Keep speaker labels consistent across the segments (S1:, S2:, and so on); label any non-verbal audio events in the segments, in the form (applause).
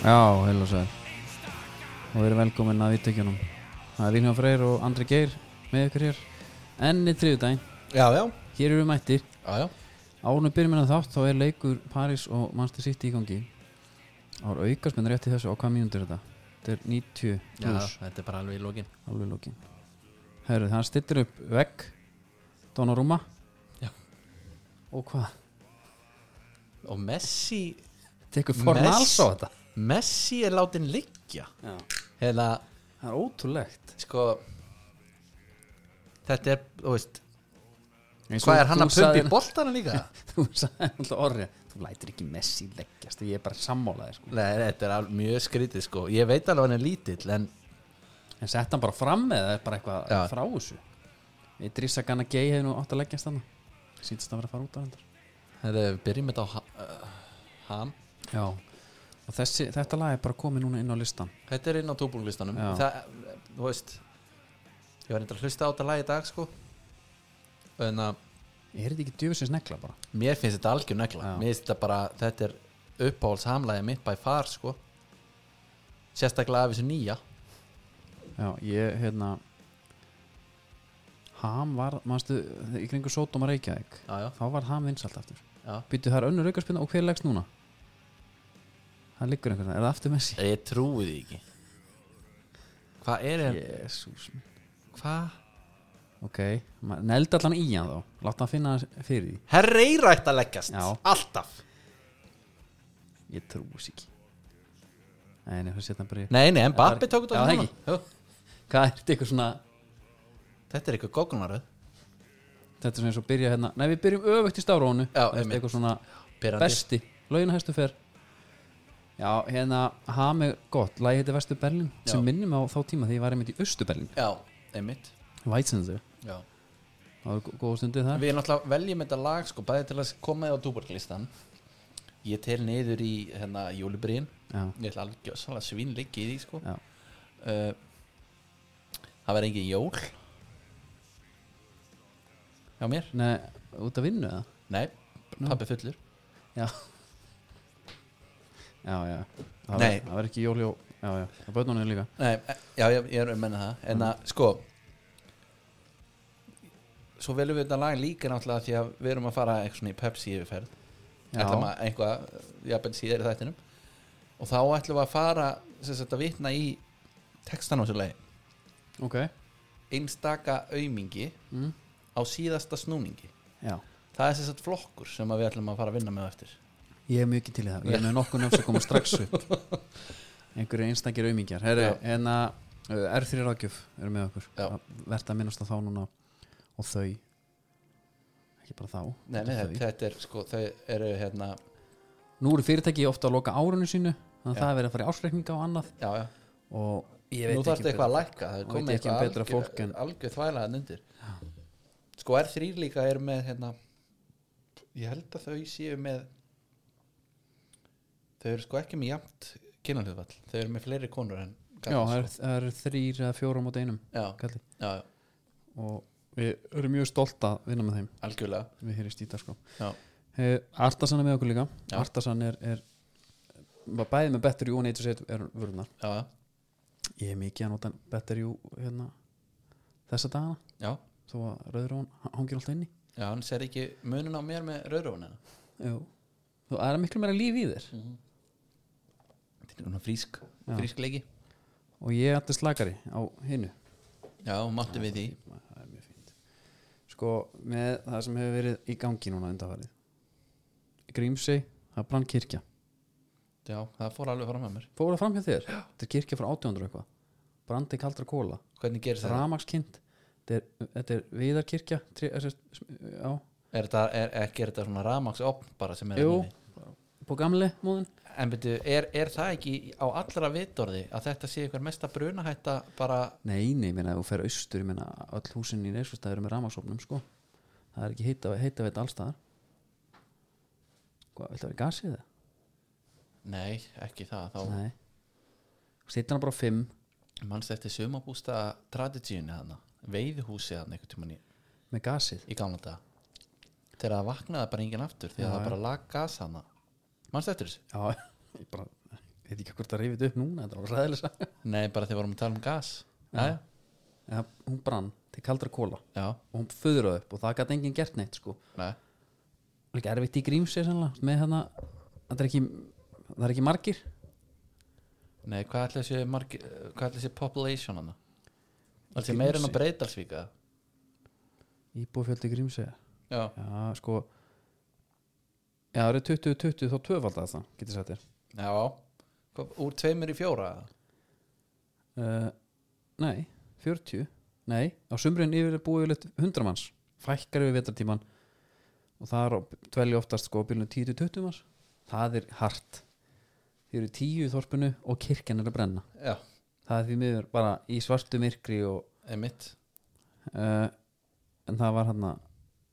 S1: Já, heil og sæl Og við erum velkomin að vittökjunum Það er Vilhjón Freyr og Andri Geir með ykkur hér Enni þriðudaginn,
S2: Já, já,
S1: hér eru mættir
S2: já, já.
S1: Árnum byrjum en að þátt þá er leikur Paris og Manchester City í gangi Ár aukast menn rétt í þessu á hvað mínútur er þetta? Þetta er 90 plus,
S2: þetta er bara alveg í lokin
S1: alveg lókin Herru, það stittir upp vegg Donnarumma
S2: Já.
S1: Og hvað?
S2: Og Messi
S1: Tekur forn
S2: Messi-
S1: alls á þetta?
S2: Messi er látin liggja
S1: Já,
S2: Hérna,
S1: það er ótrúlegt
S2: sko Þetta er, þú veist Hvað er hann að pumpa í boltana líka?
S1: þú sagði alltaf orðið þú lætir ekki Messi leggjast ég er bara sammálaði sko.
S2: (laughs) Nei, þetta er alveg mjög skrítið, sko Ég veit alveg hann er lítill, en
S1: en sett hann bara fram með það er bara eitthvað
S2: Já.
S1: frá þessu ég drýsa gana gei hefði nú átt að leggjast hann sýndist að vera að fara út á hendur
S2: Herðu, við byrjum þetta á ha uh, Ham
S1: já og þessi, þetta lag er bara komið núna inn á listan
S2: Þetta er inn á tóbúlulistanum
S1: Já.
S2: Það, þú veist Ég var eitthvað að hlusta á þetta lag í dag, sko Hérna, En að
S1: er þetta ekki djöfisins negla bara
S2: Mér finnst þetta algjör negla
S1: Já.
S2: Mér finnst þetta bara, þetta er uppáhaldshamlæði mitt bæ far sko Sérstaklega af þessu nýja
S1: já, ég hérna ham var, mannstu, í kringu Sótum að Reykjavík
S2: Já, já,
S1: þá var ham vinsalt aftur
S2: já
S1: byttu það er önnur aukarspinna og hver leggst núna það liggur einhvern veginn er það aftur Messi
S2: Ég trúi því ekki Hvað er þetta?
S1: jésús minn
S2: Hvað?
S1: Ok, neldi allan í hann þá Láta hann finna fyrir því
S2: Herreira ætti að leggjast
S1: Já.
S2: Alltaf
S1: Ég trúi þess ekki En ég fyrir setna bara í-
S2: Nei, nei, en
S1: Það
S2: Bappi
S1: var-
S2: tók þetta
S1: Já,
S2: á
S1: það
S2: hana.
S1: ekki.
S2: Jú,
S1: Hvað er þetta eitthvað svona
S2: Þetta er eitthvað gókunaröð
S1: Þetta er sem eins og byrja hérna Nei, við byrjum öfugt í stafrónu
S2: Já,
S1: Þetta er
S2: einmitt.
S1: Eitthvað svona
S2: Pirrandi.
S1: besti Laugin hæstu fer Já, hérna Hami gott Lægi heiti Vestu Berlin
S2: Já.
S1: Sem minnum á þá tíma Þegar ég var einmitt í Östu Berlin
S2: Já, einmitt
S1: Vætsendur
S2: Já.
S1: Það var góða stundið þar
S2: Við náttúrulega veljum þetta lag sko Bæði til að koma því á túborglistan Ég tel niður í hérna júlibriðin
S1: Já,
S2: Ég ætla alveg gjössalega svínleiki í því sko
S1: já
S2: uh, Það verði engin jól Já mér
S1: Nei, út að vinnu eða?
S2: Nei, pappi fullur
S1: Já Já, já Það
S2: Nei.
S1: verð- Það verður ekki jóli og Já, já, það bötnum henni líka
S2: Nei, e- Já, ég, ég er að menna það En að, sko Svo veljum við þetta lag líka náttúrulega því að við erum að fara eitthvað svona í Pepsi yfirferð
S1: Já.
S2: ætlum að einhvað, jafnvel síðar í þættinum og þá ætlum við að fara sem sagt að vitna í textan á þessu lagi
S1: Ok
S2: einstaka aumingi
S1: mm.
S2: á síðasta snúningi
S1: Já
S2: það er sem sagt flokkur sem að við ætlum að fara að vinna með á eftir
S1: Ég er mjög ekki til í það Ég er með nokkuð nefns að koma strax upp Einhverju einstakir hérna, auðmingjar Herru,
S2: Já.
S1: en að R3 Rákjöf eru með okkur
S2: Já.
S1: Vert að minnast að þá núna Og þau Ekki bara þá
S2: Nei, nei
S1: heldur
S2: þetta, þetta er sko, þau eru hérna
S1: þau Nú eru fyrirtæki ofta að loka árunni sínu Þannig að
S2: Já.
S1: það er verið að fara í ásreikninga og annað
S2: Já, já,
S1: Og ég veit
S2: nú þarf
S1: ekki
S2: eitthvað að lækka Það er
S1: Veit
S2: komið
S1: ekki um
S2: eitthvað
S1: betra fólk
S2: algjör,
S1: en-
S2: algjör þvælaðan undir Sko R3 líka er með hérna Ég held að þau séu með Þau eru sko ekki með jafnt kynalhjóðvall Þau eru með fleiri konur en
S1: Já, það
S2: karlar,
S1: eru- það eru þrýr eða fjóra á móti einum
S2: sko. já,
S1: Kalli
S2: já, já,
S1: og við erum mjög stolt að vinna með þeim
S2: algjörlega
S1: við hér í Stítarskó
S2: Já.
S1: Artasan er með okkur líka
S2: Já.
S1: Artasan er, er var bæði með Better You og Nature Set er vörðunar
S2: Já, já,
S1: ég er mikið að nota Better You hérna, þessa dagana
S2: já,
S1: þó að rauður hún hangir alltaf inni
S2: já, hann ser ekki munin á mér með hérna. rauðrófuna
S1: Jú. þú það er miklu meira líf í þér
S2: Þetta er svona frísk,
S1: Mhm. Já.
S2: frísk leiki
S1: og ég er alltaf slakari á hinnu
S2: Já, máttu við því
S1: það er mjög fínt sko með það sem hefur verið í gangi núna undanfarið Grímsey, það brann kirkja
S2: Já, það fór alveg fram með mér
S1: fóra fram hjá þér, þetta er kirkja frá 1800 og eitthvað brandi kaldra kóla,
S2: Hvernig gerir það?
S1: ramakskind þetta er, þetta er viðarkirkja tri, er, já,
S2: Er þetta, er, er, er þetta svona ramagsopn bara sem er
S1: Jú.
S2: þarna inni?
S1: på gamle móðin
S2: En byrju, er, er það ekki á allra vitorði að þetta sé ykkur mesta brunahætta bara
S1: nei, nei, minna, þú fer austur ég meina, öll húsin í Neisvistað eru með ramaksopnum sko. það er ekki heita, heita veit allstaðar hvað, viltu að vera gasið það?
S2: Nei, ekki það, þá
S1: nei setja hana bara á 5
S2: mannst eftir sumabústa traditíunni þarna, veiðhúsi þarna einhvern tímann í,
S1: með gasið
S2: í gamla daga þegar það vaknaði bara enginn aftur því að
S1: Já,
S2: það
S1: já.
S2: bara lag gas hana mannst eftir þessu?
S1: já, (laughs) ég bara veit ekki hvort það reyfið upp núna þetta var ræðilega saga.
S2: Nei, bara þegar vorum að tala um gas Já,
S1: En það- hún brann til kaldra kóla
S2: já,
S1: og hún föðraði upp og það gæti enginn gert neitt sko.
S2: nei
S1: líka erfitt í grímsi sannlega, með hana, það, er ekki, það er ekki margir
S2: Nei, hvað ætla þessi, marg, hvað ætla þessi population hana? Alltaf meira en að breytalsvíka
S1: íbúfjöldi grímsi
S2: Já,
S1: já sko já það eru 20-20 þá tvöfaldið það getur sagt þér
S2: já Hvað, Úr tveimur í fjóra
S1: uh, nei, 40 nei, á sumrin yfir er búið yfirleitt 100 manns fækkar yfir vetartíman og það er dvelja oftast sko á bylunum 10-20 manns það er hart þið eru 10 í þorpinu og kirkjan er að brenna
S2: Já,
S1: það er því miður bara í svartu myrkri og
S2: einmitt
S1: uh, en það var hann að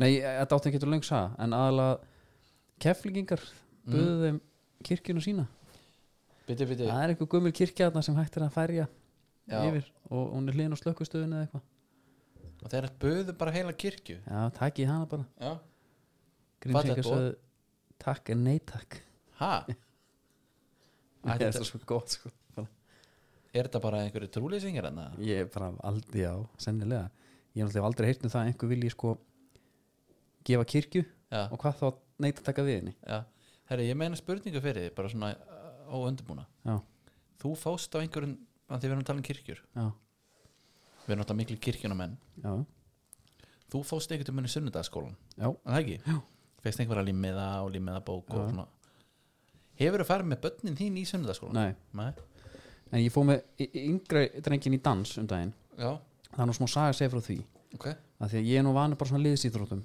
S1: nei, þetta átti ekki að löng saga en aðalega keflingingar buðu
S2: Mm.
S1: þeim kirkjuna sína
S2: Biti, biti
S1: það er eitthvað gummul kirkja þarna sem hægt er að færja
S2: Já,
S1: yfir og hún er hlýðin á slökkustöðinu eða eitthvað
S2: og þeir buðu bara heila kirkju
S1: já, takk í hana bara
S2: Já,
S1: Grímsvíkja
S2: Fallegt boð.
S1: sögðu takk en nei takk (laughs)
S2: ha
S1: það er
S2: Ætli þetta-
S1: svo gott sko bara.
S2: Er þetta bara einhverju trúlýsingir hana?
S1: ég er bara aldrei á, sennilega ég er náttúrulega aldrei heyrt um það að einhver vilji sko gefa kirkju
S2: Já,
S1: og hvað þá neita taka við henni
S2: já Herri, ég meina spurningu fyrir þið, bara svona óundabúna
S1: já,
S2: Þú fást á einhverjum, að því við erum að tala um kirkjur
S1: já,
S2: Við erum alltaf miklu kirkjunamenn
S1: já,
S2: Þú fóst einhvern veginn í sunnudagaskólan
S1: já.
S2: En það ekki? Feist einhverja límiða og límiða bók og
S1: Já.
S2: svona Hefur þú farið með börnin þín í sunnudagaskólan?
S1: nei
S2: Nei
S1: En ég fóð með y- yngri drengin í dans um daginn
S2: Já,
S1: Það er nú smá saga að segja frá því
S2: ok
S1: að Því að ég er nú vanur bara svona liðsýþrótum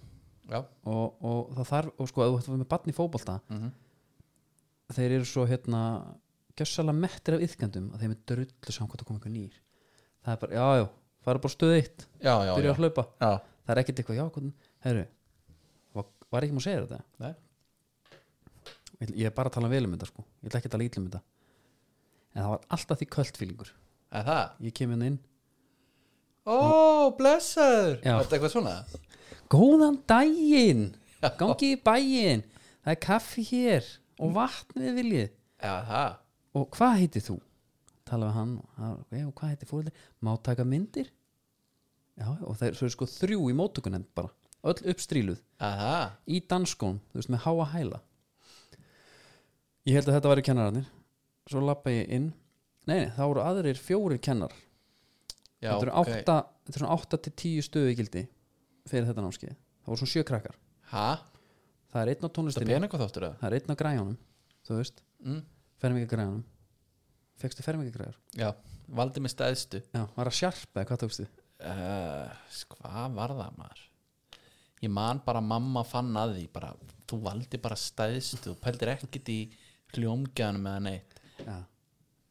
S2: Já,
S1: og, og það þarf, og sko, að þú ætti að vera með barn í fótbolta
S2: mm
S1: Þeir eru svo, hérna, gjössalega mettir af yðkendum að þeim er drullu saman hvað það kom einhver nýr Það er bara, já, já, fara bara stöð eitt
S2: já, já,
S1: Byrja
S2: já.
S1: að hlaupa,
S2: já.
S1: það er ekkert eitthvað, já, hvernig, herru Var, var ekki maður að segja þér þetta?
S2: Nei.
S1: Ég ætla- Ég er bara að tala vel um þetta, sko Ég ætla ekki að tala ítlum um þetta En það var alltaf því kvöldfýlingur
S2: Er það?
S1: Ég kem hérna inn
S2: Ó, blessaður
S1: Já.
S2: Var þetta eitthvað svona?
S1: Góðan daginn Gangi í bæinn Það er kaffi hér og vatn við viljið
S2: Já, það
S1: Og hvað heitir þú? Tala við hann og, hann, "Já, og hvað heitir fóreldir? Má taka myndir? Já, og það er, svo er sko þrjú í móttökunend bara Öll uppstríluð
S2: Já, það
S1: Í danskónum, þú veist, með háa hæla Ég held að þetta væri kennararnir Svo lappa ég inn Nei, nei, þá voru aðrir fjórir kennar
S2: Já,
S1: Þetta eru
S2: ok.
S1: átta, þetta eru svona átta til tíu stöðu gildi Fyrir þetta námskeið Það voru svona sjö krakkar
S2: Ha?
S1: Það er einn á
S2: Þetta
S1: tónlistinni
S2: pena eitthvað þáttur það?
S1: það er einn á græjunum þú veist,
S2: Mm.
S1: fermingagræjunum fegstu fermingagræjur
S2: Já, valdi mig stæðstu
S1: já, var að sjarpa eða hvað tókstu
S2: uh, Hvað var það maður? Ég man bara að mamma fann að því bara, Þú valdi bara stæðstu Þú pældir ekkit í hljómgjöðanum eða neitt
S1: já,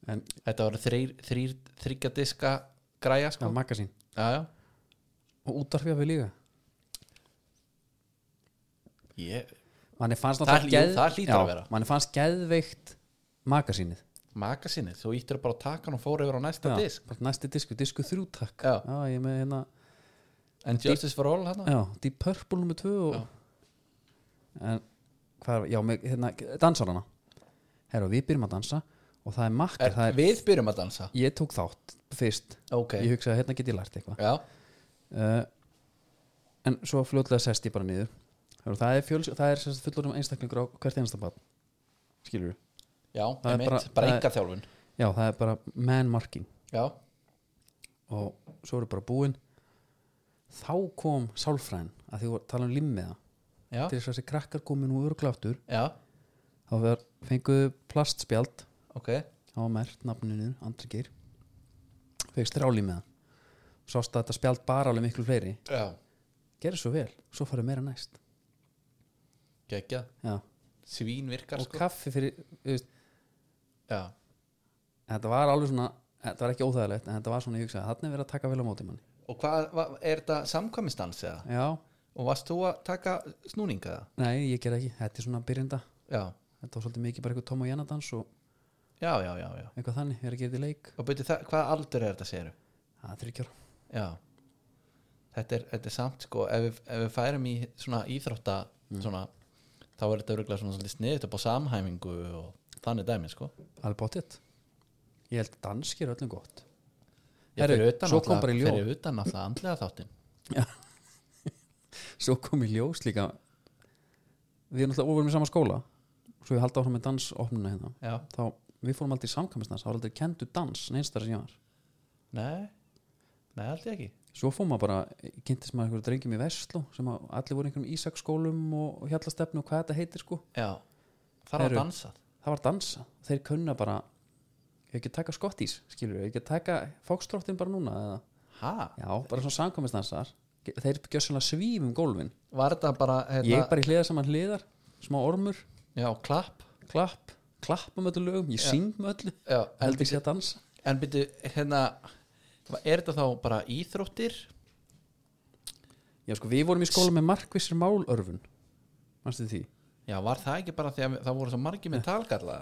S1: en
S2: Þetta voru þrýr, þrýr, þryggja diska græja
S1: já,
S2: sko
S1: magasín
S2: Já, já
S1: og útarfið við líka
S2: Ég,
S1: manni fannst
S2: Það
S1: náttúrulega
S2: hlý- það hlýtur að vera.
S1: manni fannst geðveikt magasínið
S2: Magasinnið, þú íttir bara á takan og fór yfir á næsta disk
S1: bara næsti disku, disku þrjú takk
S2: Já.
S1: ég er með hérna,
S2: En Justice for All hann
S1: já, Deep Purple nummer tvö og,
S2: Já.
S1: en hvað, já, með, hérna, dansarana herra, við byrjum að dansa og það er makka,
S2: er,
S1: það er,
S2: Við byrjum að dansa
S1: ég tók þátt fyrst,
S2: Ok,
S1: ég hugsaði hérna get ég lært eitthvað
S2: já,
S1: uh, en svo fljótlega sest ég bara niður Hörru, það er, fjöls, það er fullurum einstaklingur á hvert einasta barn skilur
S2: já,
S1: Það er
S2: einmitt, bara,
S1: bara-
S2: bara
S1: það er-
S2: enga þjálfun
S1: já það er bara man marking
S2: Já,
S1: og svo eru bara búin þá kom sálfræðin að því voru tala um limmiða
S2: já,
S1: til þess að þessi krakkar komin úr örgláttur
S2: já,
S1: þá var- fenguðu plastspjald
S2: ok
S1: á mert nafninu Andri Geir fegst þér álímiða sást að þetta spjald bara alveg miklu fleiri
S2: Já,
S1: gerðu svo vel, svo farið meira næst
S2: geggjað,
S1: já.
S2: svín virkar
S1: og
S2: sko
S1: kaffi fyrir þú veist,
S2: Já,
S1: þetta var alveg svona þetta var ekki óþægilegt en þetta var svona ég hugsaði þannig er verið að taka vel á móti manni
S2: Og hvað, hva, er þetta samkvæmistans eða?
S1: já,
S2: Og varst þú að taka snúninga eða?
S1: nei ég ger ekki, þetta er svona byrjenda
S2: Já,
S1: þetta var svolítið mikið bara eitthvað Tom og Janna dans og
S2: já, já, já, já
S1: eitthvað þannig, er að gera þetta í leik
S2: Og byrju, það, hvað aldur er þetta segir
S1: það er þryggjör,
S2: Já Þetta er, þetta er samt sko ef við, ef við færum í
S1: Mm.
S2: svona íþrótta svona, þá er þetta örgulega svona svolítið sniðt upp á samhæmingu og þannig dæmi sko
S1: alveg bóttið ég held að danski er öllum gott
S2: Ég
S1: Herru,
S2: fyrir utan
S1: svo
S2: náttúrulega-
S1: kom bara í ljós.
S2: fyrir utan alltaf andlega þáttinn
S1: svo kom í ljós líka við erum alltaf ofurinn í sama skóla svo við haldið áfram með dansopnuna hérna
S2: já,
S1: þá við fórum aldrei í samkvæmstans þá var aldrei kendu dans neinstar sem ég var
S2: nei, nei, held ég ekki
S1: svo fór maður bara, kynntist maður einhverjum drengjum í Vestló sem að allir voru í einhverjum ísaksskólum og hjallastefnu og hvað þetta heitir sko
S2: já, þar var
S1: Herru.
S2: dansað
S1: það var dansa, þeir kunna bara ég ekki að taka skottís, skilur ég ekki að taka fókstróttin bara núna eða,
S2: ha,
S1: já, bara svona samkvæmstnansar þeir gjöð svona svífum gólfin
S2: var þetta bara hérna,
S1: ég bara í hliða saman hliðar, smá ormur
S2: já, klapp
S1: klapp, klapp um öllu lögum ég syng með öllu,
S2: já, en,
S1: held ég sé að dansa
S2: en byrju, hérna er þetta þá bara íþróttir
S1: já sko, við vorum í skóla með markvissir málörfun mannstu því,
S2: já, var það ekki bara því að það voru svo margir með talgalla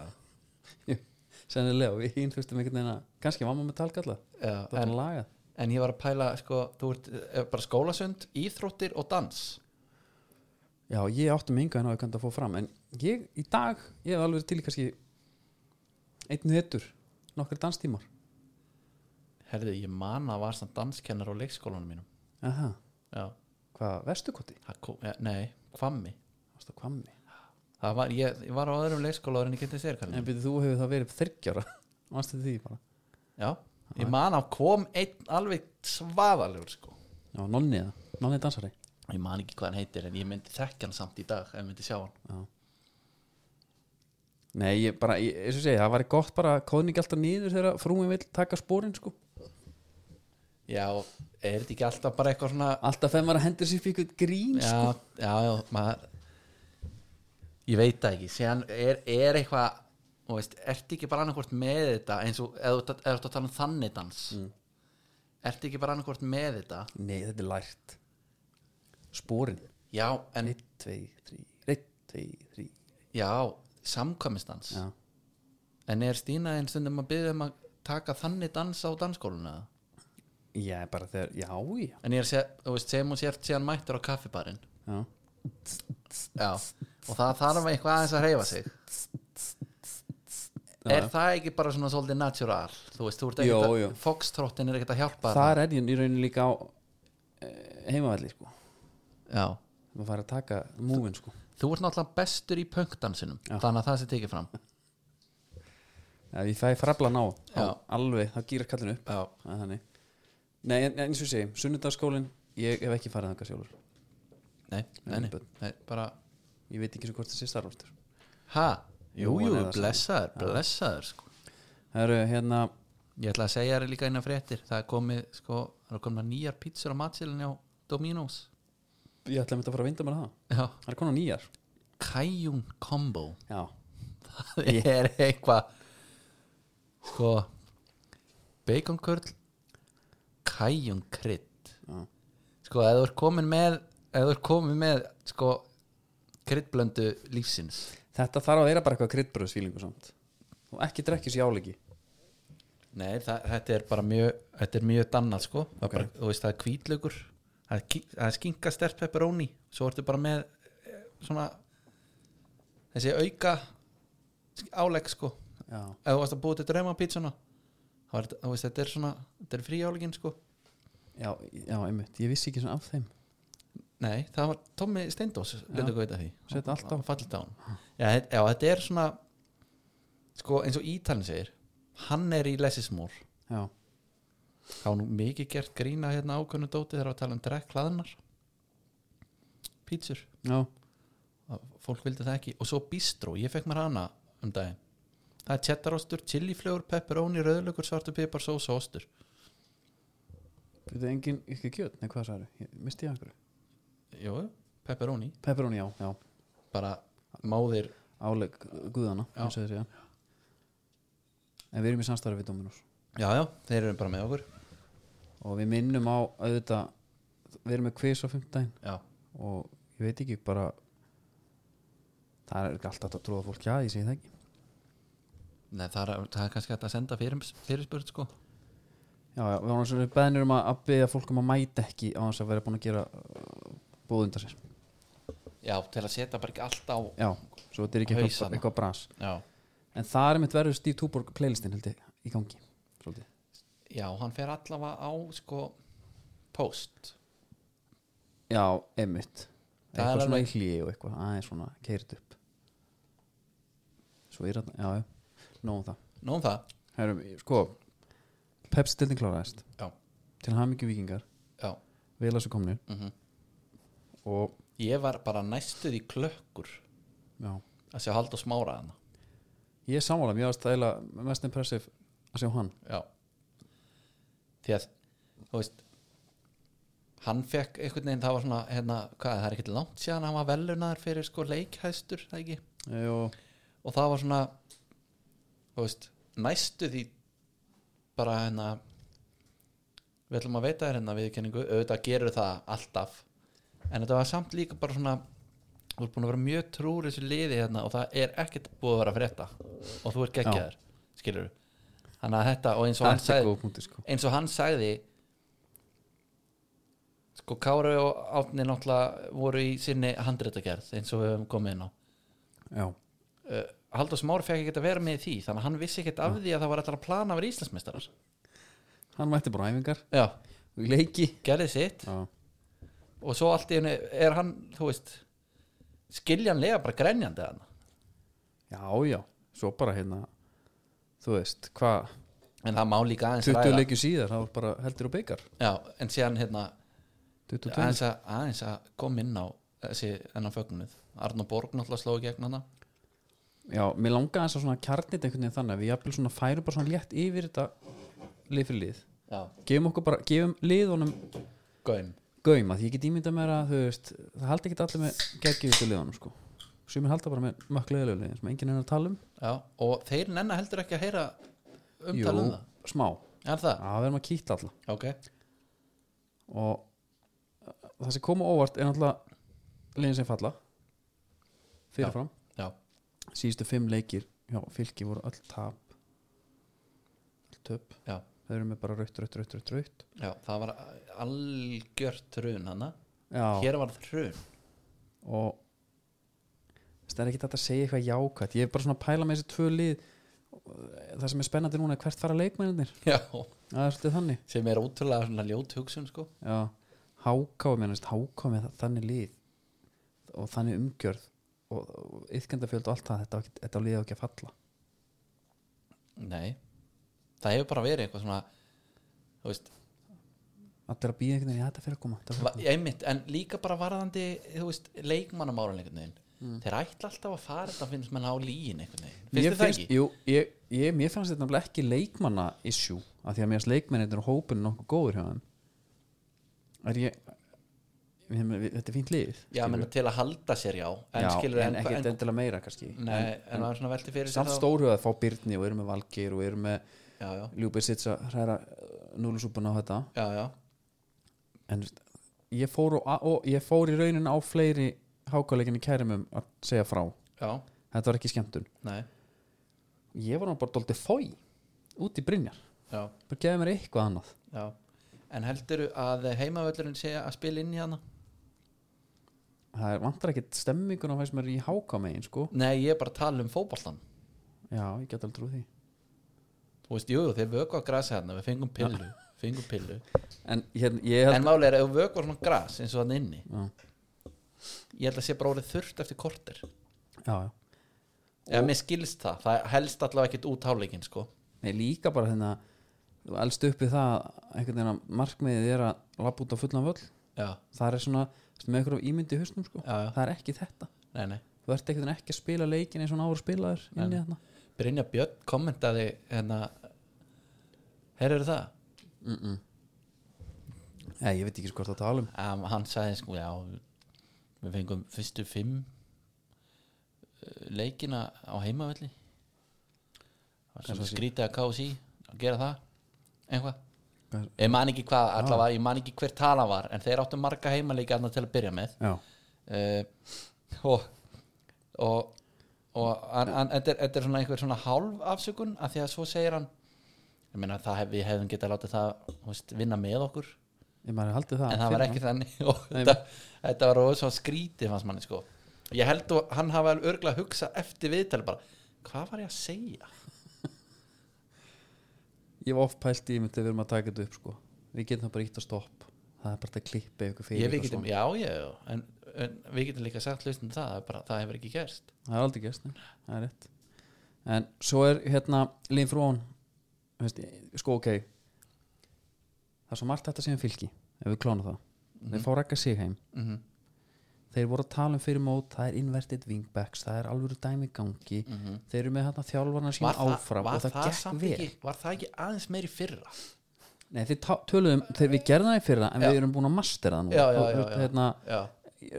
S1: sennilega og við hinn þurftum einhvern veginn að kannski mamma með talgalla,
S2: já,
S1: það var
S2: en,
S1: að laga
S2: en ég var að pæla sko, þú ert eh, bara skólasund íþróttir og dans
S1: Já, ég átti mig enga en á ég kannt að fá fram en ég, í dag, ég hef alveg verið til í kannski einn hettur nokkar danstímar
S2: herðu, ég man að var samt danskennar á leikskólanum mínum
S1: Aha,
S2: já,
S1: hvað, vestukoti?
S2: það kom, ja, nei, hvammi
S1: Ástu að kvammi
S2: það var, ég, ég var á öðrum leikskóla áður en ég getið sér
S1: En
S2: kallið
S1: byrju, þú hefur það verið þryggjara Ástu því bara
S2: já, ég man að kom einn alveg svaðalegur sko
S1: Já, nonni eða, nonni dansari
S2: ég man ekki hvað hann heitir en ég myndi þekka hann samt í dag ef ég myndi sjá hann
S1: Nei, ég bara, ég, eins og segi, það væri gott bara að kóðni ekki alltaf nýður þegar frúin vill taka spórin sko
S2: já, er þetta ekki alltaf bara eitthvað svona
S1: Alltaf þegar maður hendur sér fyrir eitthvað grín sko.
S2: já, já, já maður, ég veit það ekki Síðan er, er eitthvað og veist, ertu ekki bara annarkvort með þetta eins og eða þú ert að tala um þannig dans
S1: Mm.
S2: ertu ekki bara annarkvort með þetta
S1: Nei, þetta er lært Spórin
S2: já, en
S1: 1, 2, 3, 1, 2, 3
S2: já, samkvæmistans
S1: Já
S2: en er Stína einn stundum að byggja um að taka þannig dans á dansskóluna
S1: Já, bara þegar, já, já
S2: en ég er að segja, þú veist, sem hún sért síðan mættur á kaffibarinn
S1: Já,
S2: Já, og það þarf eitthvað aðeins að hreyfa sig Er það ekki bara svona svolítið natural? Þú veist, þú ert
S1: Jó,
S2: ekkert
S1: jó.
S2: að Foxtrottin er ekkert að hjálpa
S1: þar er ég í rauninni líka á eh, heimavalli sko
S2: Já,
S1: maður fær að taka múvin sko
S2: þú ert náttúrulega bestur í punktansinum Þannig að það sé tekið fram
S1: ja, ég fæ frablan á, á
S2: Já.
S1: alveg, það gýrar kallinu upp
S2: Já,
S1: Það er þannig. Nei, en- en eins og ég segi, sunnudagsskólin ég hef ekki farið þangað sjálfur
S2: nei, nei, nei,
S1: Börn.
S2: nei bara
S1: ég veit ekki sem hvort það sé starfáttur
S2: Ha,
S1: Jú,
S2: jú,
S1: hann
S2: jú,
S1: er það
S2: blessaður, blessaður sko.
S1: það eru hérna,
S2: Ég ætla að segja þér líka innan fréttir Það er komið, sko, það er komið nýjar pítsur á matsilin á Dominos
S1: ég ætla að mynda að fara að vinda mér það
S2: Já,
S1: það er konar nýjar
S2: Kajun Combo
S1: já,
S2: það er eitthvað sko baconkörl kæjunkrydd
S1: Já.
S2: sko eða þú ert komin með eða þú ert komin með sko kryddblöndu lífsins
S1: þetta þarf að vera bara eitthvað kryddbröðsfílingu samt og ekki drekkis í álegi
S2: nei það, þetta er bara mjög þetta er mjög dannað sko Það er
S1: Ok.
S2: bara, þú veist það er kvítlaugur það er, ki- það er skinka stert pepperoni svo ertu bara með eh, svona þessi auka álegg sko
S1: já,
S2: ef þú varst að búa til draumapítsuna þá er þetta- þú veist, þetta er svona þetta er fríálegin sko
S1: já, já, einmitt, ég vissi ekki svona af þeim
S2: nei, það var Tommy Steindós letur gauta því
S1: Setta allt á.
S2: fallit á hann já, þetta- já, þetta er svona sko eins og Ítalin segir hann er í lesismór
S1: já,
S2: þá er nú mikið gert grína hérna ákvönnu dóti þegar að tala um drekk hlaðunar pítsur
S1: já,
S2: Að fólk vildi það ekki og svo bistró, ég fekk mér hana um daginn það er cheddarostur, chiliflögur, pepperoni, rauðlögur, svartu pipar, sósa, ostur
S1: þetta er engin ekki kjöt, nei hvað það eru, misti ég einhverju
S2: jú, pepperoni
S1: pepperoni, já, já
S2: bara móðir
S1: áleg guðana
S2: Já.
S1: eins og þeir segja en við erum í samstarfi við Dominus
S2: já, já, þeir eru bara með okkur
S1: og við minnum á auðvitað við erum með quiz á fimmtudaginn
S2: já,
S1: og ég veit ekki bara það er ekki alltaf að tróða fólk já, ég segi það ekki
S2: Nei, það, er, það er kannski hægt að senda fyrir, fyrirspurt sko
S1: já, já, við erum svona beðnir um að, að beða fólk um að mæta ekki á þess að vera búin að gera búið undan sér
S2: já, til að setja bara ekki allt á
S1: já, svo þetta er ekki eitthvað,
S2: Hausana.
S1: eitthvað bras
S2: já,
S1: en það er mitt verður Steve Tuborg playlistin held ég í gangi svolítið.
S2: já, hann fer allavega á sko post
S1: já, einmitt
S2: Það er
S1: eitthvað svona í
S2: alveg-
S1: hlýi og eitthvað aðeins svona keirt upp svo er þetta, já, já nóg um það,
S2: nú um það,
S1: Herum, sko Pepsi-dildin kláraðist
S2: Já.
S1: til hamingju vikingar,
S2: já
S1: vel að svo komnir
S2: mm
S1: og,
S2: ég var bara næstuð í klökkur
S1: já,
S2: að sjá hald og smára hana
S1: ég er sammála mér varst það eiginlega mest impressive að sjá hann
S2: já því að, þú veist hann fekk einhvern veginn, það var svona hérna, hvað, það er ekkert langt síðan hann var velunaður fyrir sko leikhæstur, það ekki
S1: Eh, og,
S2: og það var svona þú veist, næstu því bara hérna við ætlum að veita þér hérna viðkenningu auðvitað gerur það alltaf en þetta var samt líka bara svona þú ert búin að vera mjög trúr þessu liði hérna og það er ekkert búið að vera að frétta og þú ert geggjaður, skilur þannig að þetta og eins og hann
S1: þetta er
S2: sagði
S1: góð punkti sko
S2: eins og hann sagði sko Kári og Átni náttúrulega voru í sinni handreitagerð eins og við höfum komið inn á
S1: já,
S2: uh, Haldur Smári fekk ekkert að vera með í því þannig að hann vissi ekkert af því að það var alltaf að plana að vera Íslandsmeistarar
S1: hann mætti bara á æfingar
S2: já,
S1: og í leiki
S2: gerði sitt
S1: já,
S2: og svo allt í henni er hann, þú veist skiljanlega bara grenjandi hann
S1: já, já. svo bara hérna þú veist, hvað
S2: en það má líka aðeins
S1: 20
S2: ræða
S1: leikjur síðar, það var bara heldur og byggar
S2: já, en síðan hérna
S1: 22
S2: aðeins að, aðeins að kom inn á þessi ennan fögnuð Arnó Borg náttúrulega sló í gegn hana
S1: Já, mér langaði þess að svona kjarnit einhvern veginn þannig að við jafnvel svona færum bara svona létt yfir þetta lið fyrir lið
S2: já,
S1: gefum okkur bara, gefum liðunum
S2: gaum
S1: gaum að ég get ímyndað mér að þú veist það haldi ekki allir með geggjöldu liðunum sko sumir halda bara með mökkulega liðunum sem enginn er að tala um
S2: já, og þeir nenni heldur ekki að heyra umtala um það
S1: smá,
S2: er það,
S1: það verðum að kýta alla
S2: ok
S1: og uh, það sem kom á óvart er náttúrulega liðin sem falla fyrirfram
S2: já,
S1: síðustu fimm leikir já, fylki voru öll tap öll töp
S2: Já.
S1: þau eru með bara raut, raut, raut, raut, raut
S2: já, það var algjört hrun hana
S1: já,
S2: hér var hrun
S1: og þess, það er ekki þetta að segja eitthvað jákvætt ég er bara svona að pæla með þessi tvö lið það sem er spennandi núna er hvert fara leikmennir
S2: já,
S1: það er svolítið þannig
S2: sem er ótrúlega svona ljót hugsun sko
S1: já, háká, mér finnst háká með það- þannig lið og þannig umgjörð og, og yðkendafjöld og allt það þetta, á ekki- þetta liði á ekki að falla
S2: nei, það hefur bara verið eitthvað svona þú veist,
S1: allir að býja einhvern veginn, já þetta fyrir að koma, þetta fer
S2: va-
S1: að koma.
S2: einmitt en líka bara varðandi, þú veist, leikmannamárun einhvern veginn, þeir ætla alltaf að fara þetta finnst mann á líin einhvern veginn finnst
S1: Mér
S2: þið það ekki?
S1: jú, ég, ég, mér fannst þetta nefnilega ekki leikmanna issue af því að mér finnst leikmennir og hópin nokkuð góður hjá þeim er ég ég meina, við- þetta er fínt lið
S2: já,
S1: skilur.
S2: menn til að halda sér já en
S1: já,
S2: skilur
S1: en ekki
S2: en,
S1: endilega meira kannski
S2: nei, en, en maður svona velti fyrir
S1: samt
S2: þá-
S1: stóru að fá Byrni og erum með Valgeir og erum með
S2: já, já,
S1: Ljúbið Sitts að hræra eh, núlusúpuna á þetta
S2: já, já,
S1: en þú veist, ég fór, á, og, ég fór í raunin á fleiri hákáleikinni kærimum að segja frá
S2: já,
S1: þetta var ekki skemmtun
S2: nei
S1: ég var nú bara dóltið fói út í Brynjar
S2: já,
S1: bara gefið mér eitthvað annað
S2: já en heldur að heimavöllurinn sé að spila inn í hana?
S1: það er vantar ekkert stemmingun á þess mér í háká megin sko
S2: nei, ég er bara að tala um fótboltan
S1: já, ég get alveg trú því
S2: þú veist, jú, jú, þeir vöku á grasi hérna við fengum pillu, fengum pillu
S1: en hérna, ég held
S2: en máli er að ef við vöku á svona gras eins og hann inni
S1: já,
S2: ég held að sé bara orðið þurft eftir korter
S1: já, já.
S2: eða mér skilst það, það helst allavega ekkit út háleikin sko,
S1: Nei, líka bara þennan elst upp við það einhvern veginn að markmiðið er að lappa út á fullan völl
S2: já,
S1: það er svona þú veist, með einhverjum ímyndi í hausnum sko.
S2: já, já,
S1: það er ekki þetta
S2: nei, nei
S1: þú ert einhvern veginn ekki að spila leikin eins og náður spilaður hérna. inn í þarna
S2: Brynja Björn kommentaði hérna herrur það?
S1: mm -mm. Nei, ég veit ekki sko hvað það tala um
S2: Um, hann sagði sko, já við fengum fyrstu fimm eh, leikina á heimavelli Það var
S1: Hvað
S2: svona
S1: svo sé?
S2: skrítið að kási að gera það, eitthvað
S1: Hvað-
S2: ég man ekki hvað, allavega, ég man ekki hver tala var en þeir áttu marga heimaleiki annað til að byrja með
S1: já,
S2: uh, og og, og hann- hann- þetta er, þetta er svona einhver svona hálf afsökun af því að svo segir hann ég meina það hef, við hefðum getað látið það þú veist, vinna með okkur
S1: ég maður haldið það
S2: en það var
S1: fyrir
S2: ekki þannig (laughs) og þetta, þetta var rosa skrítið fannst manni sko ég held að hann hafa örgla að hugsa eftir viðtal bara hvað var ég að segja?
S1: Ég hef ofpælt í mynd við erum að taka þetta upp sko Við getum það bara ítt að stopp Það er bara hægt að klippa ykkur fyrir
S2: Ég, við
S1: og
S2: getum,
S1: svona.
S2: já, já, já, en, en við getum líka sagt hlustinu það, það er bara, það hefur ekki gerst
S1: Það er aldrei gerst, nei, það er rétt En svo er hérna Lín Frón veist, Sko ok Það er svo margt þetta sem um fylki Ef við klána það
S2: Mhm.
S1: Þeir fá rekka sig heim
S2: mm -hmm.
S1: Þeir voru að tala um fyrir mót Það er inverted wingbacks Það er alvöru dæmi í gangi
S2: Mhm.
S1: Þeir eru með hérna þjálfarna sín áfram Og það, gekk
S2: samt
S1: vel
S2: ekki, var það ekki aðeins meiri fyrra?
S1: Nei, þeir tá- töluðum Þeir við gerðum það í fyrra En
S2: Já.
S1: við erum búin að mastera það nú
S2: Já, já,
S1: Og,
S2: já, já.
S1: Hérna,
S2: Já,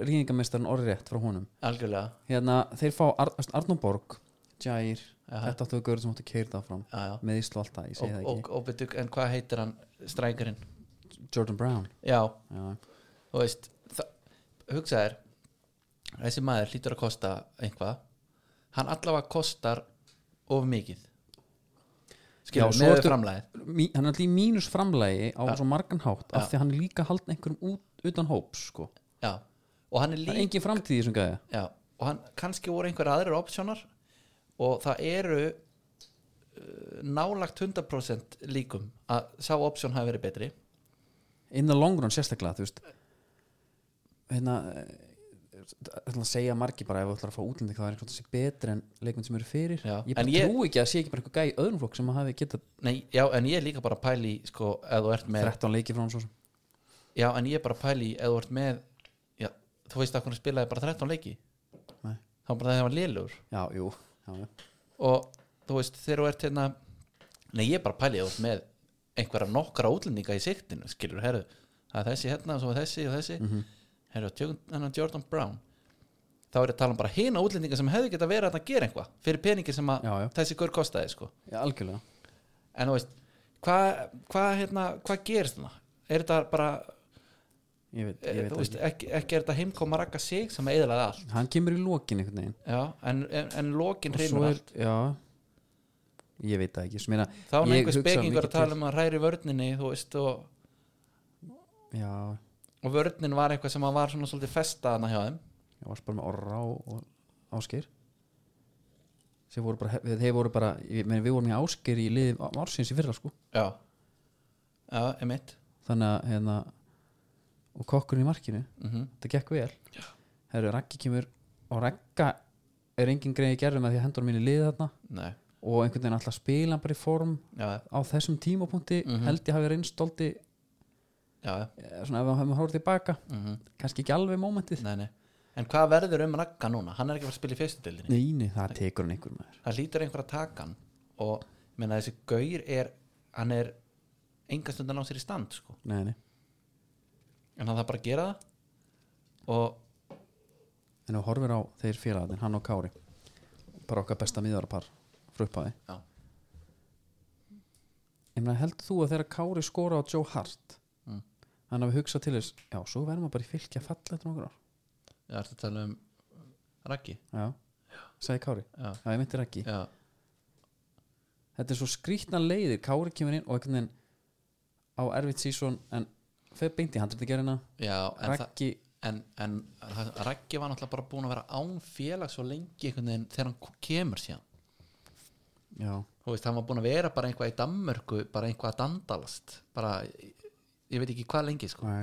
S1: rýningamestarinn orðrétt frá honum
S2: algjörlega
S1: hérna, þeir fá Ar Arnóborg Jair,
S2: Aha.
S1: þetta áttu að görður sem áttu að keirða áfram
S2: já, já.
S1: með Íslu alltaf, ég segi
S2: Og,
S1: það
S2: og,
S1: ekki
S2: og betur, en hvað heitir hann strækirinn?
S1: Jordan Brown
S2: Já,
S1: já,
S2: þú veist það, hugsa þér þessi maður hlýtur að kosta einhvað hann allavega kostar of mikið skilur,
S1: Já, svo
S2: með
S1: ertu-
S2: framlæð
S1: Mí, hann er alltaf í mínus framlægi á
S2: Ja.
S1: svo margan hátt af
S2: Ja.
S1: því að hann er líka haldin einhverjum út, utan hóps sko.
S2: já, og hann er
S1: það er
S2: líka
S1: engin framtíð í þessum gæði
S2: já, og hann, kannski voru einhverja aðrir opsjónar og það eru uh, nálagt 100% líkum að sá opsjón hafi verið betri
S1: in the long run sérstaklega þú veist hérna eh, það ætla að segja margi bara ef þú ætlar að fá útlending þá er einhvern veginn sem sé betri en leikmenn sem eru fyrir
S2: Já.
S1: ég
S2: En
S1: bara
S2: ég-
S1: trú ekki að sé ekki bara einhver gæði öðrum flokk sem hafi getað
S2: Nei, já, en ég er líka bara að pæli sko, eða þú ert með
S1: 13 leiki frá hann svo sem
S2: já, en ég er bara að pæli eða þú ert með já, þú veist að hvernig spilaði bara 13 leiki
S1: Nei.
S2: það var bara það var lélugur
S1: já, jú, já, já.
S2: og þú veist þegar þú ert hérna nei ég er bara pælið út með einhverja nokkra útlendinga í siktinu skilur, herru, það er þessi hérna og svo er þessi og þessi, mm -hmm. herru, tjögun- þennan Jordan Brown þá er ég að tala um bara hina útlendinga sem hefðu geta verið þarna að gera eitthvað fyrir peningir sem að
S1: Já, já.
S2: þessi gaur kostaði sko.
S1: Já, algjörlega
S2: en þú veist, hvað hva, hérna, hva gerist þarna? er þetta bara
S1: Ég veit,
S2: er,
S1: ég veit
S2: Eh, þú
S1: það
S2: veist, ekki, ekki er þetta heimkoma rakka sig sem að eðlaði allt
S1: ekki Hann kemur í lokin einhvern veginn
S2: já, en, en, en lokin
S1: Og svo
S2: hreinu
S1: er, já Ég veit það ekki Smina,
S2: þá er
S1: ég
S2: einhver
S1: hugsa
S2: spekingur
S1: mikið
S2: að tala um að hræri vörninni þú veist og
S1: Já,
S2: og vörnin var eitthvað sem að var svona svolítið festaðna hjá þeim
S1: ég varst bara með orra og, og áskeir Þeir voru bara, he- þeir voru bara ég, meni, Við vorum í áskeir í liði á- ársins í fyrra sko
S2: já, já, emitt
S1: Þannig að hérna Og kokkurinn í markinu,
S2: mm -hmm.
S1: þetta gekk vel Herru, Raggi kemur Og Ragga er engin greið í gerðum að því að hendur mín í liði þarna
S2: nei,
S1: Og einhvern veginn alltaf spila hann bara í form
S2: já,
S1: á þessum tímapunkti
S2: Mhm.
S1: held ég hafi reynst stolti
S2: já, já
S1: Eh, svona ef við höfum horfður tilbaka
S2: mm
S1: (laughs) kannski ekki alveg mómentið
S2: nei, nei. en hvað verður um Ragga núna hann er ekki að fara að spila í fyrstu deildinni
S1: Nei, nei, það tekur hann einhver maður
S2: það lítur einhver að taka hann og ég meina þessi gaur er hann er engastundan á sér í stand sko.
S1: Nei, nei,
S2: en hann þarf bara að gera það og
S1: en þú horfir á þeir félagatinn, hann og Kári bara okkar besta miðvarapar frá upphafi
S2: já,
S1: Ég meina, heldur þú að þegar Kári skora á Joe Hart
S2: Mm.
S1: hann hafi hugsað til þess já, svo verðum við bara í fylki að falla eftir nokkur ár
S2: ég ætti að tala um Raggi
S1: Já, sagði Kári
S2: já,
S1: Já, ég meinti ekki
S2: já,
S1: Þetta er svo skrýtna leiðir, Kári kemur inn og einhvern veginn á erfitt sísón en fer beint í handritagerina
S2: já en það
S1: Raggi
S2: en, en Raggi var náttúrulega bara búin að vera án félag svo lengi einhvern veginn þegar hann kemur síðan
S1: Já,
S2: þú veist, hann var búin að vera bara einhvað í Danmörku bara einhvað að dandalast bara, ég, ég veit ekki hvað lengi sko.
S1: Nei,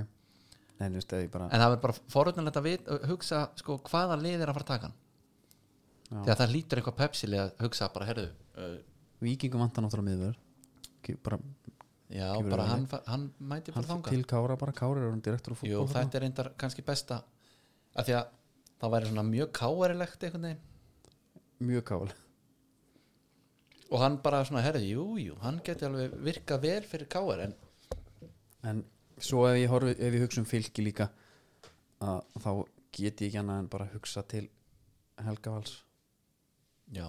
S1: nei, þú veist, eða ég bara
S2: en það verður bara forutnilegt að vit, hugsa sko, hvaða lið er að fara að taka hann
S1: Já.
S2: þegar það lítur einhvað pepsileg að hugsa bara, herðu, uh,
S1: Víkingum vantar náttúrulega miðvör Ekki bara,
S2: já,
S1: Kemur
S2: bara
S1: við
S2: hann, fa- hann mæti bara
S1: hann
S2: þanga
S1: til Kára bara Kára er hann direktur á
S2: Jú,
S1: fútbol þarna.
S2: þetta er reyndar kannski besta af því að það væri svona mjög káarilegt einhvern veginn
S1: Mjög kála
S2: og hann bara svona, herðu, jú, jú, hann geti alveg virkað vel fyrir káar en
S1: En svo ef ég, horfi, ef ég hugsa um fylki líka að, þá get ég ekki annað en bara hugsa til Helga Vals
S2: Já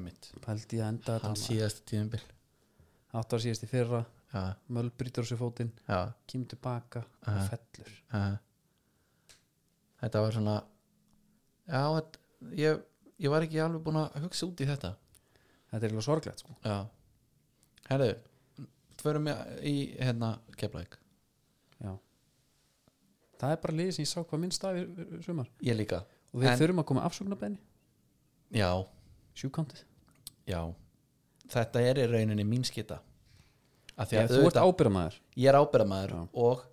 S2: Einmitt.
S1: Pældi ég að enda þetta
S2: Hann síðast tíðumbil
S1: Átt var síðast í fyrra,
S2: Já,
S1: Möll brýtur á sér fótinn
S2: já
S1: kemur tilbaka
S2: Aha.
S1: og fellur
S2: uh. Þetta var svona Já, þetta, ég, ég var ekki alveg búin að hugsa út í þetta
S1: Þetta er eiginlega sorglegt sko
S2: Já Herðu, förum við í hérna Keflæk
S1: Já. Það er bara liðið sem ég sá hvað minnst af í- í sumar
S2: Ég líka
S1: og við
S2: En-
S1: þurfum að koma afsögnabenni
S2: Já,
S1: sjúkantið
S2: já, þetta er í rauninni mín skita af því
S1: Þegar
S2: að
S1: þú ert
S2: auðvitað,
S1: ábyrðamaður
S2: ég er ábyrðamaður
S1: Já.
S2: og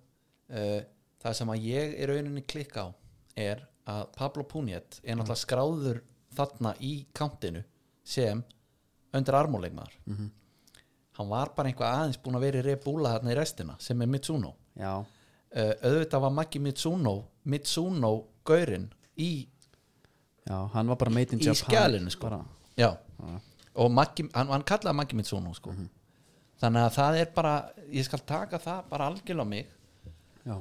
S2: uh, það sem að ég í rauninni klikka á er að Pablo Puniet
S1: Mm.
S2: er náttúrulega skráður þarna í kantinu sem undir armóleikmaður mm
S1: Mhm.
S2: hann var bara einhvað aðeins búin að vera í rebúla þarna í restina sem er Mitsuno
S1: Já,
S2: uh, auðvitað var Maggi Mitsuno Mitsuno gaurinn í
S1: já, hann var bara made in
S2: Í
S1: Japan
S2: skjalinu, sko.
S1: bara,
S2: Já, og Maggi, hann, hann kallaði Maggi mitt svona sko.
S1: Mhm.
S2: þannig að það er bara ég skal taka það bara algjörlega á mig
S1: Já,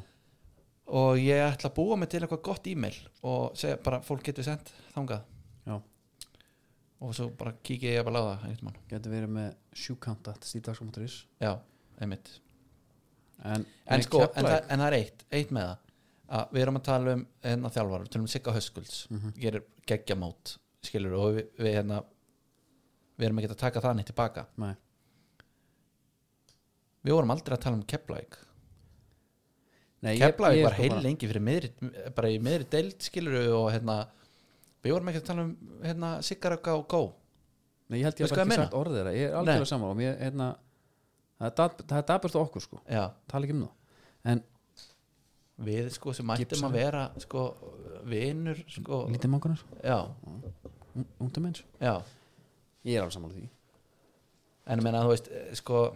S2: og ég ætla að búa mig til eitthvað gott e-mail og segja bara fólk getur sendt þangað
S1: já,
S2: og svo bara kíkja ég bara á það einhvern tímann.
S1: getur verið með sjúkanta stíðdags.is
S2: Já, einmitt
S1: En,
S2: en,
S1: í
S2: sko, en,
S1: Keflavík-
S2: það, en það er eitt, eitt með það að við erum að tala um hérna þjálfara, við tölum um Sigga Höskulds
S1: Mhm.
S2: gerir geggjamót, skilur og við, við hérna við erum ekki að taka það neitt tilbaka
S1: Nei,
S2: við vorum aldrei að tala um Keflæk
S1: Nei ég-
S2: Keflavík
S1: ég er
S2: var
S1: sko
S2: heil
S1: bara-
S2: lengi fyrir miðri, bara í miðri deild skilur og hérna við vorum ekki að tala um hérna Sigaraka og Gó
S1: Nei, ég held ég að
S2: Veistu
S1: bara
S2: hvað ég
S1: ekki
S2: meina?
S1: sagt orðið þeirra Ég er
S2: Nei.
S1: algjörlega saman og mér, hérna Það er dap- það er daburt á okkur, sko
S2: já,
S1: Tala ekki um það En
S2: við sko sem ættum
S1: Gibson.
S2: að vera sko vinur sko,
S1: lítið mangunar,
S2: já,
S1: ungdum eins
S2: já
S1: Ég er alveg samanlega því
S2: en ég meina þú veist eh, sko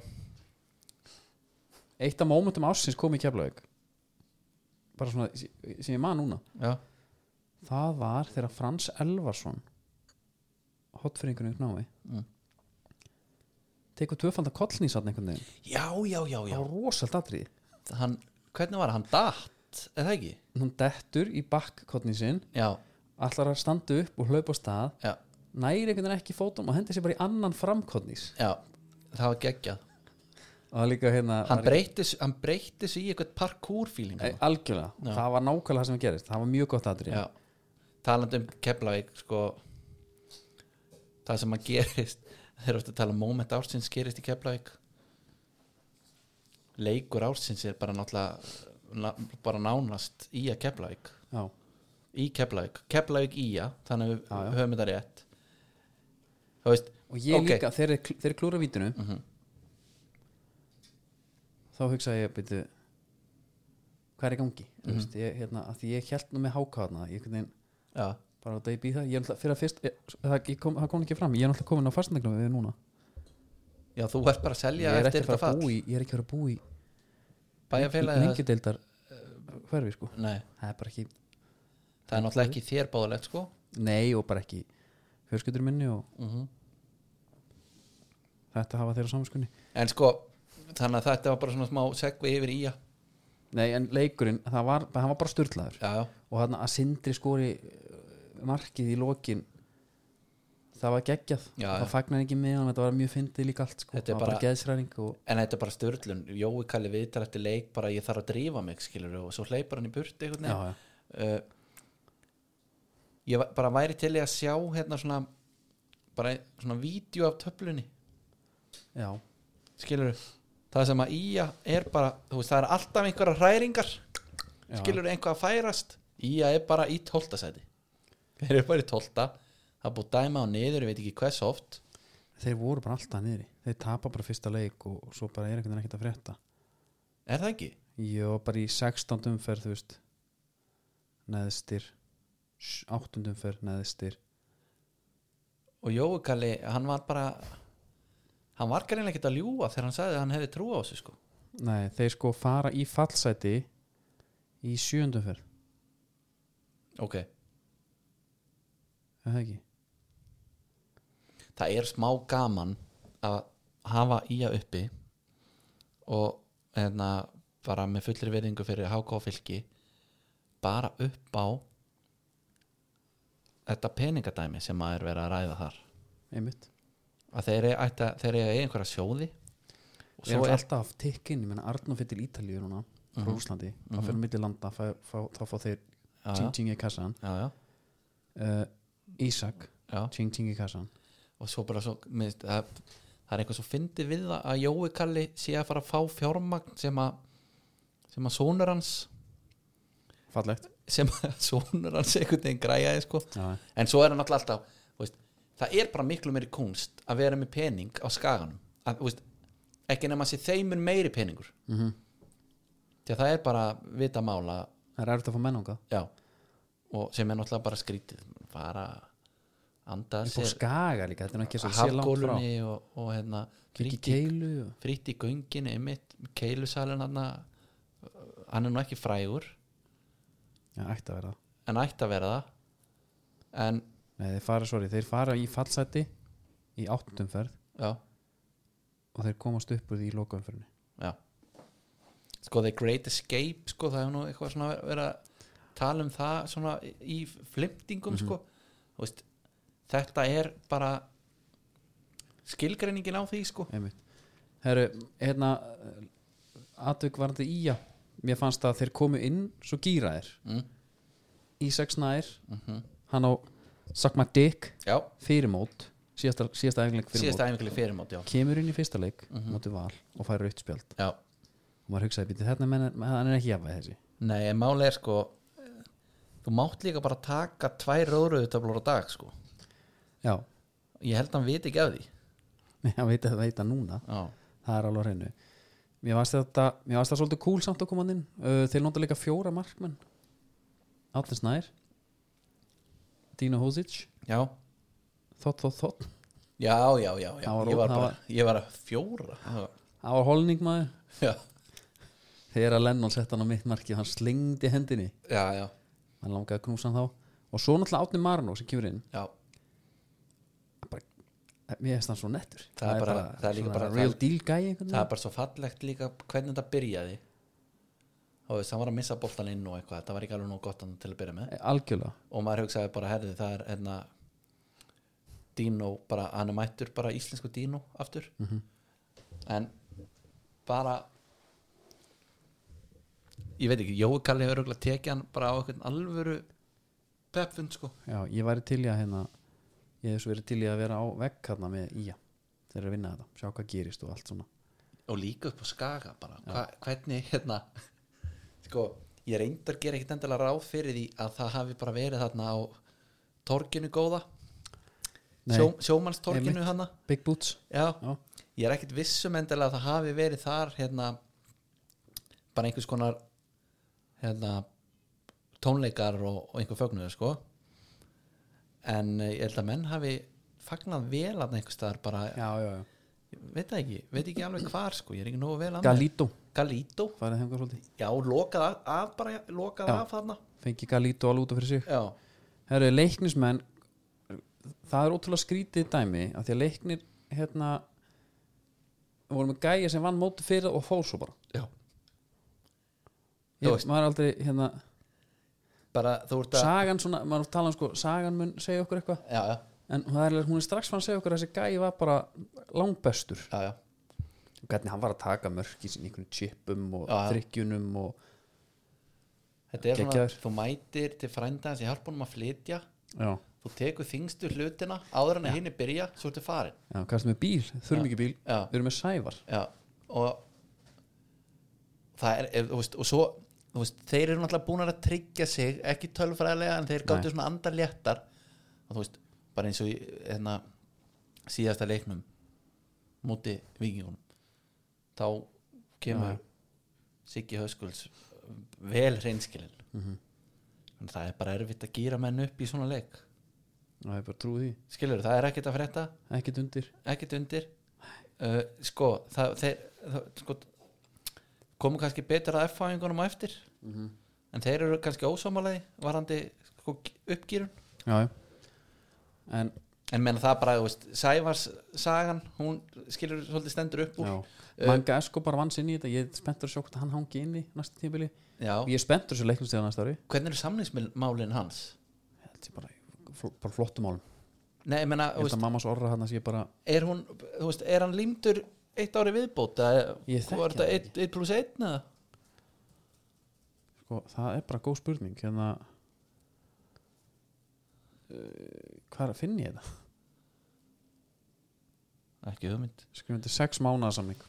S1: Eitt af mómentum ársins kom í Keflavík Bara svona, sem sem ég man núna
S2: já,
S1: Það var þegar Frans Elvarsson hotfyrringunum knámi
S2: Mm.
S1: tekur tvöfalda kollnýsatn einhvern veginn
S2: já, já, já,
S1: það
S2: já.
S1: var rosalt atrið
S2: Hann, hvernig var það? hann datt, er það ekki?
S1: hún dettur í bakkkollnýn sinn
S2: já,
S1: allar að standa upp og hlaupa á stað
S2: já,
S1: næri einhvern veginn ekki fótum og hendi sér bara í annan framkollnýs
S2: já það var geggjað
S1: og það líka hérna
S2: hann
S1: var-
S2: breytti, s- hann breytti sig í eitthvað parkour feeling
S1: Nei, algjörlega,
S2: Já.
S1: það var nákvæmlega það sem gerist það var mjög gott atrið
S2: Já, talandi um Keflavík sko það sem að gerist (laughs) þeir eru að tala um moment ársins gerist í Keflavík leikur ársins er bara náttúrulega na, bara nánast í að Keflavík
S1: Já.
S2: í Keflavík, Keflavík í að þannig að við
S1: Já, já.
S2: höfum þetta rétt þú veist,
S1: og ég
S2: Ok. Mhm.
S1: líka, þegar þeir- þeir klúra vítinu þá hugsaði ég byrju, hvað er í gangi mm
S2: Mhm.
S1: veist, ég, hérna, að því ég held nú með hákáðna ég einhvern veginn
S2: já,
S1: bara á degi býð það ég, er náttúrulega- fyrir að fyrst, ég, það, ég kom, það kom ekki fram ég er náttúrulega komin á fastandegnum við núna
S2: já, þú ert bara að selja
S1: ég er ekki
S2: eftir
S1: að fara
S2: þetta
S1: að búi
S2: fall
S1: ég er ekki að fara að búi
S2: bæjarfélagi, það-
S1: lengideildar hverfi sko
S2: nei,
S1: það er bara ekki
S2: það er náttúrulega ekki þér báðulegt sko
S1: nei og bara ekki fjörskjöldur minni og
S2: mhm
S1: þetta hafa þeirra samskunni
S2: En sko, þannig að þetta var bara svona smá segvi yfir í já,
S1: Nei, en leikurinn, það var, hann var bara styrlaður
S2: já,
S1: og hann að Sindri skori eh, markið í lokin það var geggjað
S2: Já,
S1: það
S2: já.
S1: fagnar ekki með hann, þetta var mjög fyndið líka allt sko.
S2: Þetta er
S1: það var bara
S2: bara-
S1: geðsræning og
S2: en þetta er bara störlun Jói kalli viðtal eftir leik bara ég þarf að drífa mig skilur og svo hleypar hann í burti einhvern
S1: já,
S2: veginn
S1: já.
S2: uh, ég va- bara væri til í að sjá hérna svona bara svona vídeo af töflunni
S1: Já.
S2: skilur það sem að Ía er bara þú veist það er alltaf einhverja hræringar
S1: Já.
S2: skilur einhvað að færast Ía er bara í tóltasæti þeir eru bara í tólta það er búið að dæma á niður, ég veit ekki hvers oft
S1: þeir voru bara alltaf niðri þeir tapa bara fyrsta leik og, og svo bara er einhvern veginn ekkert að frétta
S2: er það ekki?
S1: ég var bara í 16. umferð þú veist neðstir 8. umferð neðstir
S2: og Jói Kalli, hann var bara hann var greinlega ekkert að ljúga þegar hann sagði að hann hefði trú á þessu sko
S1: nei, þeir sko fara í fallsæti í 7. umferð
S2: ok,
S1: er það ekki?
S2: það er smá gaman að hafa í að uppi og hérna bara með fullri verðingu fyrir HK og fylki bara upp á þetta peningadæmi sem maður er verið að ræða þar
S1: einmitt
S2: að þeir eiga ætta- þeir eiga einhverja sjóði og
S1: við erum
S2: svo er Mhm.
S1: alltaf að tekka inn, ég menna Arnó fyrir til Ítalíu núna frá Úslandi, það fyrir milli landa fæ, fá, þá fá þeir
S2: Já, já.
S1: ting ting í kassan
S2: já, já,
S1: uh, Ísak,
S2: já.
S1: ting ting í kassan
S2: og svo bara svo minnst, það, það er eitthvað svo fyndið við það að Jói Kalli sé að fara að fá fjármagn sem að sem að sonur hans
S1: fallegt
S2: sem að (laughs) sonur hans einhvern veginn græjaði sko
S1: já,
S2: en svo er hann alltaf alltaf þú veist, það er bara miklu meiri kunst að vera með pening á skaganum að, þú veist, ekki nema sér þeimur meiri peningur mm
S1: Mhm.
S2: -hmm. því að það er bara vita mála
S1: það er erfitt að fá menn ánga
S2: já, og sem er náttúrulega bara skrítið bara anda
S1: upp á
S2: sér
S1: skaga líka, þetta er nú ekki svo sé langt frá
S2: hafgólunni og, og hérna
S1: kikki
S2: frítt í-
S1: keilu og...
S2: frítt í göngin einmitt, keilusalinn hann hann er nú ekki frægur
S1: já, ætti að vera það.
S2: en ætti að vera það en
S1: Nei, þeir fara, sorry, þeir fara í fallseti í áttumferð
S2: já,
S1: og þeir komast upp úr því í lokaumferðinni
S2: já sko The Great Escape sko það hefur nú eitthvað svona verið að tala um það svona í flimtingum sko Þú veist, þetta er bara skilgreiningin á því sko
S1: einmitt Herru, hérna atvik varandi í já mér fannst að þeir komu inn svo gýraðir
S2: Mm. mhm.
S1: Ísak Snær hann á Suck My Dick
S2: já,
S1: fyrirmót síðasta, síðasta æfingleik fyrirmót
S2: síðasta æfingarlega fyrirmót já,
S1: kemur inn í fyrsta leik mm -hmm. val og fær rautt spjald
S2: já
S1: og maður hugsaði býti þarna menn hann er ekki jafnvæg þessi
S2: Nei, en máli er sko þú mátt líka bara taka tvær rauðröðutöflur á dag sko
S1: já, (laughs)
S2: ég held að hann viti ekki af því
S1: Nei, hann veit að það veit að núna
S2: já,
S1: það er alveg á hreinu mér varst þetta, mér varst það svolítið cool samt að koma hann inn uh, þeir nota líka fjóra markmenn Átli Snær Dino Hosic
S2: já,
S1: Þott, þott, þott
S2: já, já, já, já.
S1: Það var
S2: ég, var
S1: það
S2: bara,
S1: var-
S2: ég var að fjóra Það var-
S1: það var holning maður
S2: já,
S1: þegar að Lennon sett hann á mitt marki og hann slengdi hendinni
S2: já, já,
S1: hann langaði að knúsa hann þá og svo náttúrulega Átni Marno sem kemur inn
S2: já.
S1: mér finnst hann svo nettur
S2: Það er bara- það er líka
S1: svona
S2: bara-
S1: real deal guy einhvern
S2: það er
S1: veginn
S2: bara svo fallegt líka hvernig þetta byrjaði og veist, hann var að missa boltan inn og eitthvað þetta var ekki alveg nú gott hann til að byrja með
S1: algjörlega
S2: og maður hugsaði bara, herði, það er hérna Dino, bara, hann er mættur bara íslensku Dino aftur en bara ég veit ekki, Jói Kalli hefur örugglega tekið hann bara á eitthvað alvöru pepfund sko
S1: Já, ég væri til í að hérna ég hef svo verið til í að vera á vegg hérna með Ía þeir eru að vinna þetta, sjá hvað gerist og allt svona
S2: og líka upp á skaga bara Hva, hvernig hérna (laughs) sko, ég reyndar gera ekkit endilega ráð fyrir því að það hafi bara verið þarna á torginu góða
S1: Nei.
S2: Sjó, sjómannstorginu hana
S1: Big Boots
S2: já,
S1: Já.
S2: ég er ekkit vissum endilega að það hafi verið þar hérna bara einhvers konar hérna tónleikar og, og einhver fögnuður sko en eh, ég held að menn hafi fagnað vel að einhvers staðar bara,
S1: já, já, já.
S2: ég veit það ekki, veit ekki alveg hvar sko, ég er ekki nógu vel að
S1: Galito,
S2: Galító,
S1: farið þengar svolítið
S2: já, lokað af- af bara, lokað
S1: Já.
S2: af þarna
S1: fengi Galito alveg út af fyrir sig
S2: já,
S1: Herru, leiknismenn það er ótrúlega skrítið dæmi af því að leiknir hérna voru með gæja sem vann móti fyrir og fór svo bara
S2: já Þú
S1: ég,
S2: veist.
S1: maður er aldrei hérna
S2: bara þú ert að
S1: sagan svona, maður er að tala um sko sagan mun segja okkur eitthvað
S2: já, já,
S1: en það er, hún er strax fann að segja okkur að þessi gæja var bara langbestur
S2: já, já
S1: hvernig hann var að taka mörki sín einhvern chipum og
S2: Já, já.
S1: þrykkjunum og
S2: Þetta er svona,
S1: Geggjaður.
S2: þú mætir til frænda hans í hjálpunum að flytja
S1: já,
S2: þú tekur þingstu hlutina áður en að henni byrja, svo ertu farin
S1: já kannski með bíl, þurfum ekki bíl
S2: Já.
S1: við erum með sævar
S2: já, og það er, ef, þú veist, og svo þú veist, þeir eru náttúrulega búin að tryggja sig ekki tölfræðilega en þeir gáttu svona andar léttar og þú veist, bara eins og í hérna, síðasta leiknum múti vikingunum þá kemur Siggi Höskuls vel hreinskilin mm -hmm. það er bara erfitt að gýra menn upp í svona leik
S1: og ég bara trúi því,
S2: skilur, það er ekkert að frétta
S1: ekkert undir
S2: ekkert undir uh, sko, það, þeir, það sko, komu kannski betur að F-fæðingunum á eftir
S1: Mhm.
S2: en þeir eru kannski ósámalegi varandi sko, uppgýrun
S1: já, já en,
S2: en menna það bara, þú veist, Sævars sagan, hún skilur svolítið stendur upp úr
S1: já,
S2: eh,
S1: manga Esko bara vann sinni í þetta ég er spenntur að sjá hvort hann hangi inn í næsta tímabili
S2: Já.
S1: ég er spenntur að sjá leiknumstíða næsta ári
S2: hvernig eru samningsmálin hans?
S1: Ég held sé bara, fl- bara flottumálum
S2: Nei, ég menna,
S1: ég held að mammas orra hann að sé bara
S2: er hún þú veist, er hann límdur eitt ári viðbóta
S1: Ég þekki
S2: var
S1: það
S2: þetta 1 plus 1 eða?
S1: sko, það er bara góð spurning hérna uh, hvað er að finna eh, ég þetta?
S2: ekki hugmynd
S1: skrifum þetta sex mánaða samning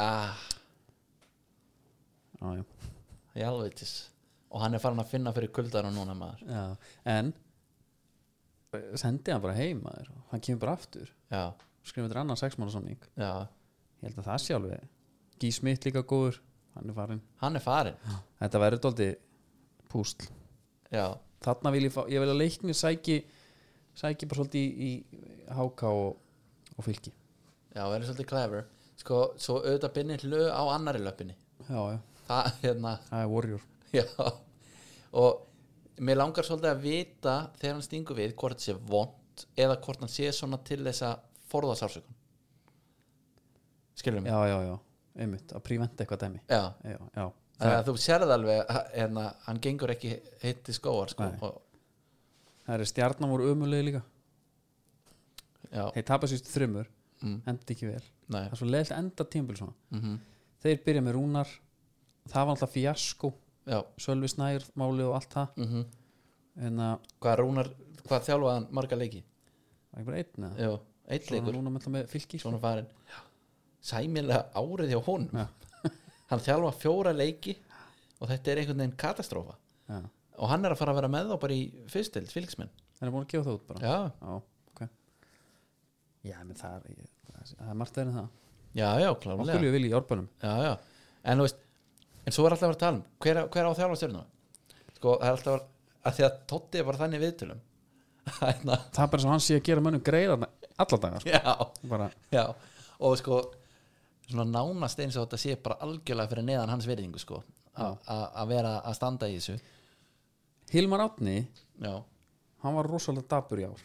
S2: ah,
S1: já, já
S2: ég alveg tis og hann er farin að finna fyrir kuldanum núna maður
S1: Já, en eh, sendi hann bara heim maður. hann kemur bara aftur
S2: já,
S1: skrifum þetta annan sexmána samning
S2: já
S1: ég held að það sé alveg Gís mitt líka góður, hann er farin
S2: hann er farin
S1: þetta verður dóldi púsl
S2: já,
S1: þarna vil ég fá, ég vil að leikni sæki sæki bara svolítið í, í háka og, og fylki
S2: já, verður svolítið clever sko, svo auðvitað binnir hlö á annari löpunni
S1: já, já,
S2: það, hérna, (laughs)
S1: það er warrior
S2: já og mér langar svolítið að vita þegar hann stingur við hvort þetta sé vond eða hvort hann sé svona til þess að forða sársökun skilur mig
S1: já, já, já, einmitt, að príventa eitthvað dæmi
S2: já.
S1: já, já,
S2: Þannig að þú sérð alveg að- hérna, hann gengur ekki heitt í skóar sko,
S1: Nei.
S2: og,
S1: það er stjarnan voru ömulegi líka
S2: já,
S1: þeir tapa sýst þrumur,
S2: mm,
S1: enda ekki vel
S2: nei,
S1: það er svo leiðilt að enda tímbil svona
S2: mm
S1: þeir byrja með rúnar, það var alltaf fjasko
S2: já
S1: Sölvi Snær, máli og allt það Hérna,
S2: mm
S1: en að,
S2: hvað rúnar, hvað þjálfaði hann marga leiki
S1: var ekki bara einn eða
S2: já, eitt
S1: Svo
S2: leikur,
S1: núna með, með fylki
S2: svona farin sæmilega árið hjá honum
S1: Já.
S2: (laughs) hann þjálfa fjóra leiki og þetta er einhvern veginn katastrófa
S1: Já.
S2: og hann er að fara að vera með þá bara í fyrstild, fylgismenn
S1: hann er búin að gefa það út bara
S2: já,
S1: Já, ok Já, menn það er, ég, það er- það er margt verið en það
S2: já, já,
S1: Okkur
S2: klálega
S1: ég vil í árbænum
S2: já, já. en þú veist, en svo er alltaf að vera að tala um hver, hver á að þjálfa stjörnum sko, það er alltaf að, að því að Totti er bara þannig í viðtölum (laughs) hérna,
S1: Það er bara sem hann sé að gera mönnum greiða alla dagar
S2: já,
S1: bara,
S2: já og sko, svona nánast eins og þetta sé bara algjörlega fyrir neðan hans verðingu sko, a- a- að vera að standa í þessu
S1: Hilmar Átni,
S2: já,
S1: hann var rosalega dapur í ár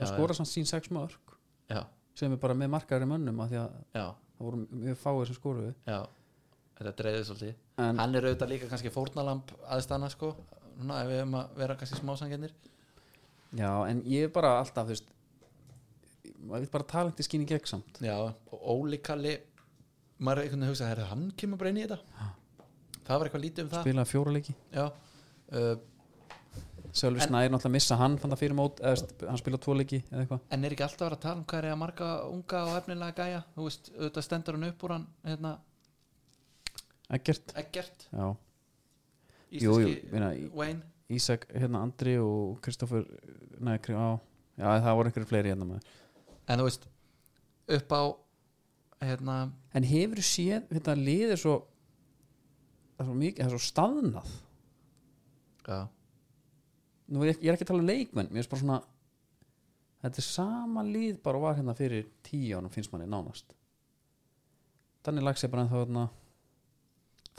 S2: Já,
S1: Það skora sann sín sex mörg
S2: já,
S1: sem er bara með markaðri mönnum af því að
S2: já,
S1: það voru mjög fáir sem skoruðu
S2: já þetta dreifði svolítið
S1: En-
S2: hann er auðvitað líka kannski fórnalamb aðstana sko, Núna, ef við höfum að vera kannski smásangennir
S1: Já, en ég er bara alltaf, þú veist maður vil bara um talandi skýni gegn samt
S2: Já, og Óli Kalli maður er einhvern veginn að hugsa að hann kemur bara inn í þetta það var eitthvað lítið um það
S1: spilaði fjóra leiki
S2: Já, uh,
S1: Sölvi Snær náttúrulega missa hann fann það fyrir mót eða st- hann spilaði tvo leiki eða eitthvað
S2: en er ekki alltaf að vera að tala um hvað er að marga unga og efnilega gæja þú veist, auðvitað stendur hann upp úr hann hérna,
S1: Eggert
S2: Eggert,
S1: Já,
S2: íslenski
S1: Jú, jú, meina, í-
S2: Wayne
S1: Ísak, hérna Andri og Kristoffer Nei, Kri- á, já, það voru einhverju fleiri hérna maður
S2: en þú veist, upp á hérna,
S1: En hefur séð, þetta liðið svo það er svo mikið, það er svo staðnað
S2: já,
S1: Nú er ég, ég er ekki að tala um leikmenn, mér er bara svona Þetta er sama lið bara og var hérna fyrir tíu ánum finnst manni nánast Þannig lags ég bara ennþá hérna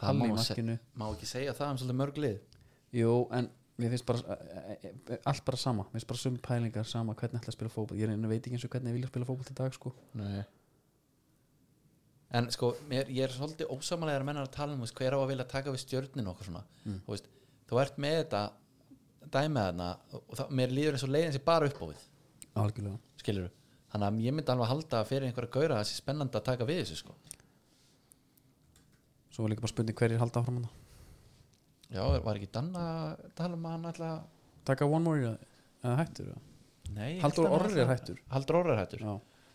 S2: það má,
S1: Palli í
S2: se-
S1: markinu
S2: má ekki segja það um svolítið mörg lið
S1: Jú, en mér finnst bara eh, eh, eh, allt bara sama, mér finnst bara sum pælingar sama hvernig ætla að spila fótboll, ég er einu veit ekki eins og hvernig ég vilja spila fótboll til dag sko
S2: Nei. En sko, mér, ég er svolítið ósamalega að menna að tala um þú veist, hver á að vilja taka við stjörnin og okkur svona þú, veist, þú ert með þetta dæmið þarna og það, mér líður eins og leiðin sér bara upp á við
S1: Algjörlega
S2: skilur þannig að ég myndi alveg að halda að fyrir einhverja gaura það sé spennandi að taka við þessu sko
S1: Svo var líka bara spurning hverjir halda áfram hann
S2: Já, var ekki Danna að tala um að hann alltaf
S1: Taka One More eða- eða hættur eða?
S2: Nei, ég
S1: Halldór
S2: held að hann
S1: Orri
S2: væri-
S1: er hættur.
S2: Halldór Orri er hættur
S1: Já,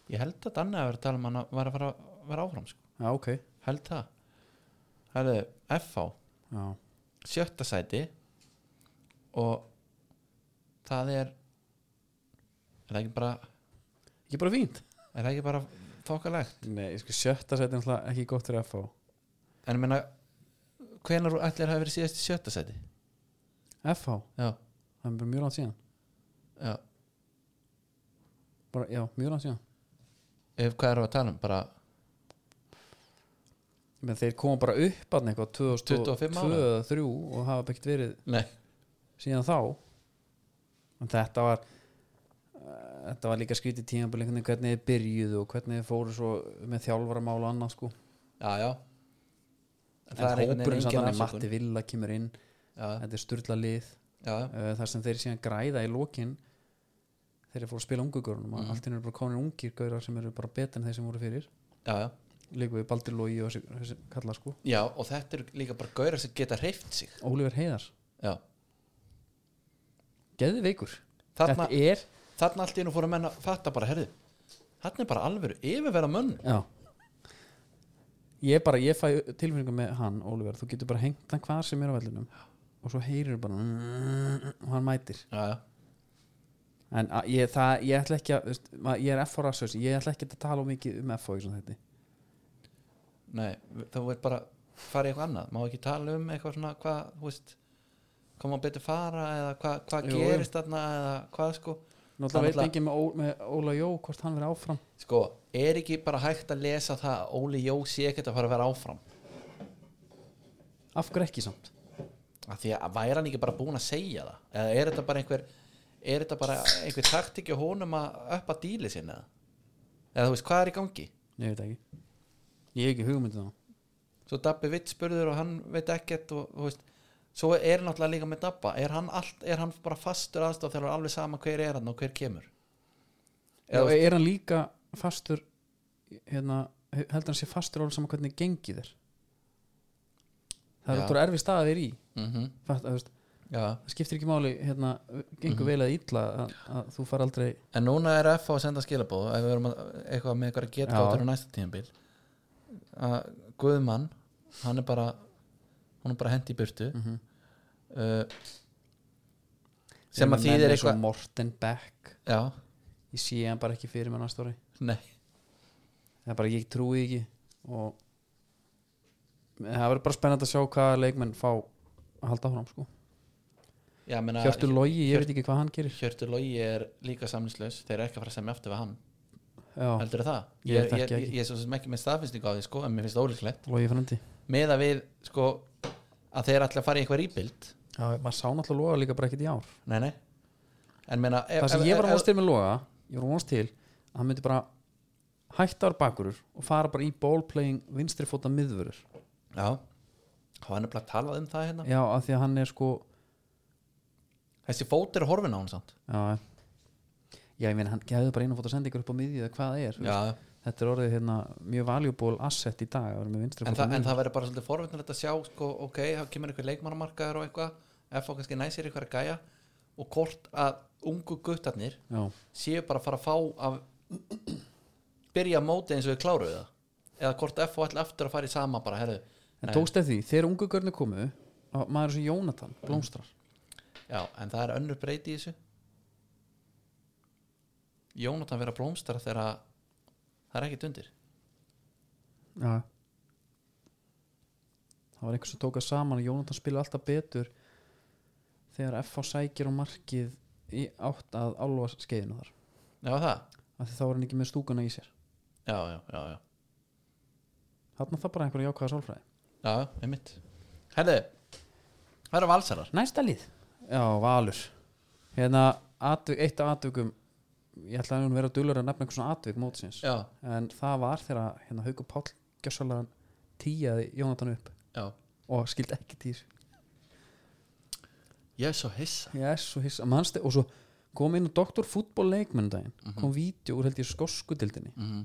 S2: Ég held að Danna að vera að tala um að hann að- var að fara að vera áfram sko
S1: já ok
S2: Held það Hæðu, FH
S1: já.
S2: sjötta sæti og það er er það ekki bara
S1: Ekki bara fínt
S2: er það ekki bara þokkalegt
S1: Nei, ég sko sjötta sæti er náttúrulega ekki gott fyrir FH
S2: en ég meina hvenar allir hafi verið síðast í sjötta sæti
S1: FH,
S2: já,
S1: það er bara mjög langt síðan
S2: já,
S1: bara, Já, mjög langt síðan
S2: ef hvað erum við að tala um bara,
S1: Ég meina, Þeir koma bara upp að eitthvað
S2: 25 ára.
S1: 2002 eða 3 og hafa byggt verið
S2: nei,
S1: síðan þá en þetta var eh, þetta var líka skrítið tíma hvernig þið byrjuðu og hvernig þið fóru svo með þjálfaramál og annað sko
S2: já, já
S1: en hópurinn samt þannig
S2: afsökun.
S1: Matti Villa kemur inn
S2: já,
S1: þetta er sturla lið
S2: já,
S1: uh, þar sem þeir síðan græða í lokin þeir eru fóru að spila ungu görunum
S2: Mhm.
S1: mm. allt í einu eru bara konir ungir gaurar sem eru bara betur en þeir sem voru fyrir
S2: já, já
S1: líka við Baldur Lógi og þessi, þessi kallar sko
S2: já, og þetta eru líka bara gaurar sem geta hreift sig
S1: Ólífer Heiðar,
S2: já,
S1: geði veikur
S2: þarna,
S1: þetta er
S2: þarna allt í nú fóru að menna fatta bara, herðu þarna er bara alvöru yfirverða mönn
S1: já. ég bara, ég fæ tilfinningu með hann Ólífer, þú getur bara hengt hann hvar sem er á vellinum og svo heyrir bara og hann mætir
S2: já, já
S1: en að, ég, það, ég ætla ekki að veist, ma- ég er F.O. rasshaus, ég ætla ekki að tala of mikið um F.O. í svona þetta
S2: Nei, þá er bara fara í eitthvað annað, má ekki tala um eitthvað svona hvað, þú veist hvað má betur fara eða hvað, hvað
S1: Jú, jú.
S2: gerist þarna eða hvað sko
S1: náttúrulega veit
S2: náttúrulega-
S1: enginn með, Ó- með Óla Jó hvort hann verið áfram
S2: sko, er ekki bara hægt að lesa það að Óli Jó sé ekkert að fara að vera áfram
S1: af hverju ekki samt
S2: af því að væri hann ekki bara búin að segja það eða er þetta bara einhver er þetta bara einhver taktikja honum að uppa díli sinna eða? eða þú veist, hvað er í gangi?
S1: ég veit ekki ég hef ekki hugmyndið það
S2: svo Dabbi vitt spurður og hann veit ekkert og þú veist svo er náttúrulega líka með Dabba er hann, allt, er hann bara fastur aðstof þegar alveg sama hver er hann og hver kemur
S1: Já,
S2: eða,
S1: er hann líka fastur hérna, heldur hann sé fastur alveg saman hvernig gengið er það er
S2: Já.
S1: útrúlega erfið staða þeir í
S2: mm
S1: Fatt, að, veist,
S2: já.
S1: það skiptir ekki máli hérna, gengur vel eða illa að, að þú far aldrei
S2: en núna er F að senda skilabóð ef við erum að, eitthvað með eitthvað að geta
S1: Já.
S2: gáttur á næsta tímabil að Guðmann hann er bara hún er bara hendi í burtu uh, sem að þýðir eitthvað
S1: Morten Beck,
S2: já,
S1: ég sé hann bara ekki fyrir með næsta ári
S2: nei,
S1: það er bara ég trúi ekki og það verður bara spennandi að sjá hvaða leikmenn fá að halda áfram sko
S2: já, menna
S1: Hjörtur Logi, ég veit ekki hvað hann gerir
S2: Hjörtur Lógi er líka samlingslaus þeir eru ekki að fara að semja aftur við hann
S1: Já,
S2: heldur það?
S1: Ég
S2: Ég,
S1: þekki
S2: ég,
S1: ekki.
S2: ég, ég er svo sem ekki með staðfinnsningu á því sko, en mér finnst það ólíklegt
S1: Logi frendi
S2: með að við sko að þeir ætla að fara í eitthvað rýbild
S1: Já, maður sá náttúrulega Loga líka bara ekkert í ár
S2: nei, nei en meina ef-
S1: Það sem
S2: ef-
S1: ég var að
S2: ef-
S1: vonast til með Loga ég var að vonast til að hann myndi bara hætta ára bakurur og fara bara í ballplaying vinstri fóta miðvörur
S2: já, hann er bara að tala um það hérna
S1: Já, af því að hann er sko
S2: þessi fót er horfin á hann samt
S1: Já, já ég meina hann gefði bara einu fóta sendingur upp á miðju eða hvað það er þú veist.
S2: já,
S1: Þetta er orðið hérna mjög valuable asset í dag að vera með vinstri
S2: en,
S1: fóta
S2: þa en það verður bara svolítið forvitnilegt að sjá sko, ok, það kemur einhver leikmannamarkaður og eitthvað ef þá kannski næsir eitthvað að gæja og hvort að ungu guttarnir
S1: Já,
S2: séu bara að fara að fá að byrja móti eins og við kláruðu það eða hvort FO ætla aftur að fara í sama bara, herðu,
S1: en tókst eftir því, þegar ungu görni komu að maður sem Jónatan, blómstrar
S2: já, en það er önnur breyti í þessu Jónatan vera blómstara þegar að- það er ekkert undir
S1: Já Það var einhvers sem tóka saman að Jónatan spila alltaf betur þegar FH sækir á markið í átt að álfa skeiðinu þar
S2: já, það,
S1: af því þá var hann ekki með stúkana í sér
S2: já, já, já, já
S1: þarna það bara einhverja jákvæða sálfræði
S2: já, já, einmitt herðu, það eru valsarar
S1: Næsta lið Já, Valur Hérna, atvik, eitt af atvikum ég ætla að hún vera dullur að nefna einhvers svona atvik mótsins
S2: já,
S1: en það var þegar hérna, Haukur Páll gjössalega tíjaði Jónatan upp
S2: já,
S1: og skildi ekki tíð
S2: ég er svo hissa
S1: yes, og, hissa, manstu, og svo kom inn doktorfútból leikmenn daginn
S2: Mhm.
S1: kom vídeo úr held ég skoskudildinni
S2: mm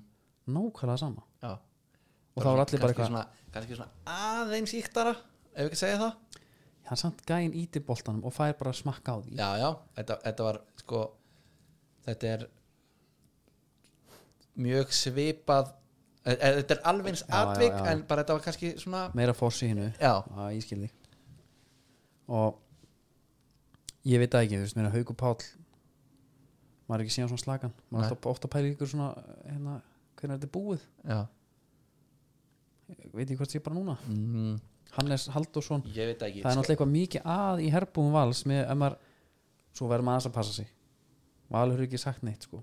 S1: nákvæmlega sama
S2: já
S1: og það var allir bara
S2: kannski
S1: eitthvað,
S2: svona, kannski svona aðeins íktara ef við ekki að segja það
S1: hann samt gæinn íti boltanum og fær bara að smakka á því
S2: já, já, þetta, þetta var sko, þetta er mjög svipað e, e, þetta er alveg eins
S1: Já, já,
S2: atvik
S1: já.
S2: en bara þetta var kannski svona
S1: meira fórs í hennu
S2: já,
S1: Já, ég skil þig og ég veit það ekki, þú veist, meina Hauku Páll maður er ekki síðan svona slakan maður er
S2: Nei.
S1: ofta, ofta pælir ykkur svona hérna, hvernig þetta er búið,
S2: já.
S1: Ég veit ég hvort sé bara núna
S2: Mm,
S1: Hannes Halldórsson,
S2: ég veit ekki sko.
S1: það er náttúrulega eitthvað mikið að í herbúum vals með ef maður, svo verður maður aðeins að passa sig Valur hefur ekki sagt neitt sko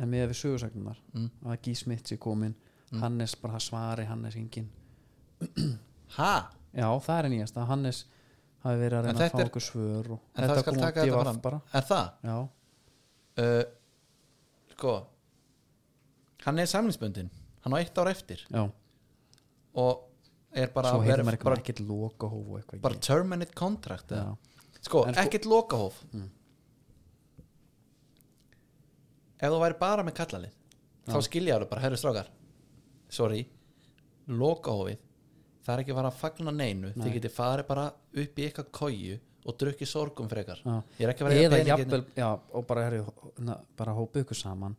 S1: en með við sögursagnunar
S2: Mm.
S1: að Gí Smith sé komin Hannes bara það svari Hannes engin
S2: ha,
S1: já það er nýjast að Hannes hafi verið að reyna
S2: En
S1: að
S2: þetta
S1: fá
S2: er-
S1: okkur svör og
S2: en það skal
S1: kom á
S2: taka þetta
S1: DVF
S2: fram
S1: bara
S2: er það,
S1: já,
S2: uh, sko hann er samlingsbundin hann á eitt ár eftir
S1: já,
S2: og er bara,
S1: svo
S2: að
S1: heitir
S2: vera-
S1: maður eitthvað
S2: bara,
S1: bara, ekkert loka hóf og eitthvað
S2: bara terminate contract eða?
S1: já,
S2: sko,
S1: En sko- Mm.
S2: ekkert lokahóf ef þú væri bara með kallalið þá skilja það bara, herru strákar sorry, lokahófið það er ekki bara að fagna neinu þið getið farið bara upp í eitthvað kóju og drukkið sorgum frekar
S1: já.
S2: ég er ekki að vera
S1: eða
S2: pening hérna.
S1: jafnvel, já, og bara, herri, na, bara hópið ykkur saman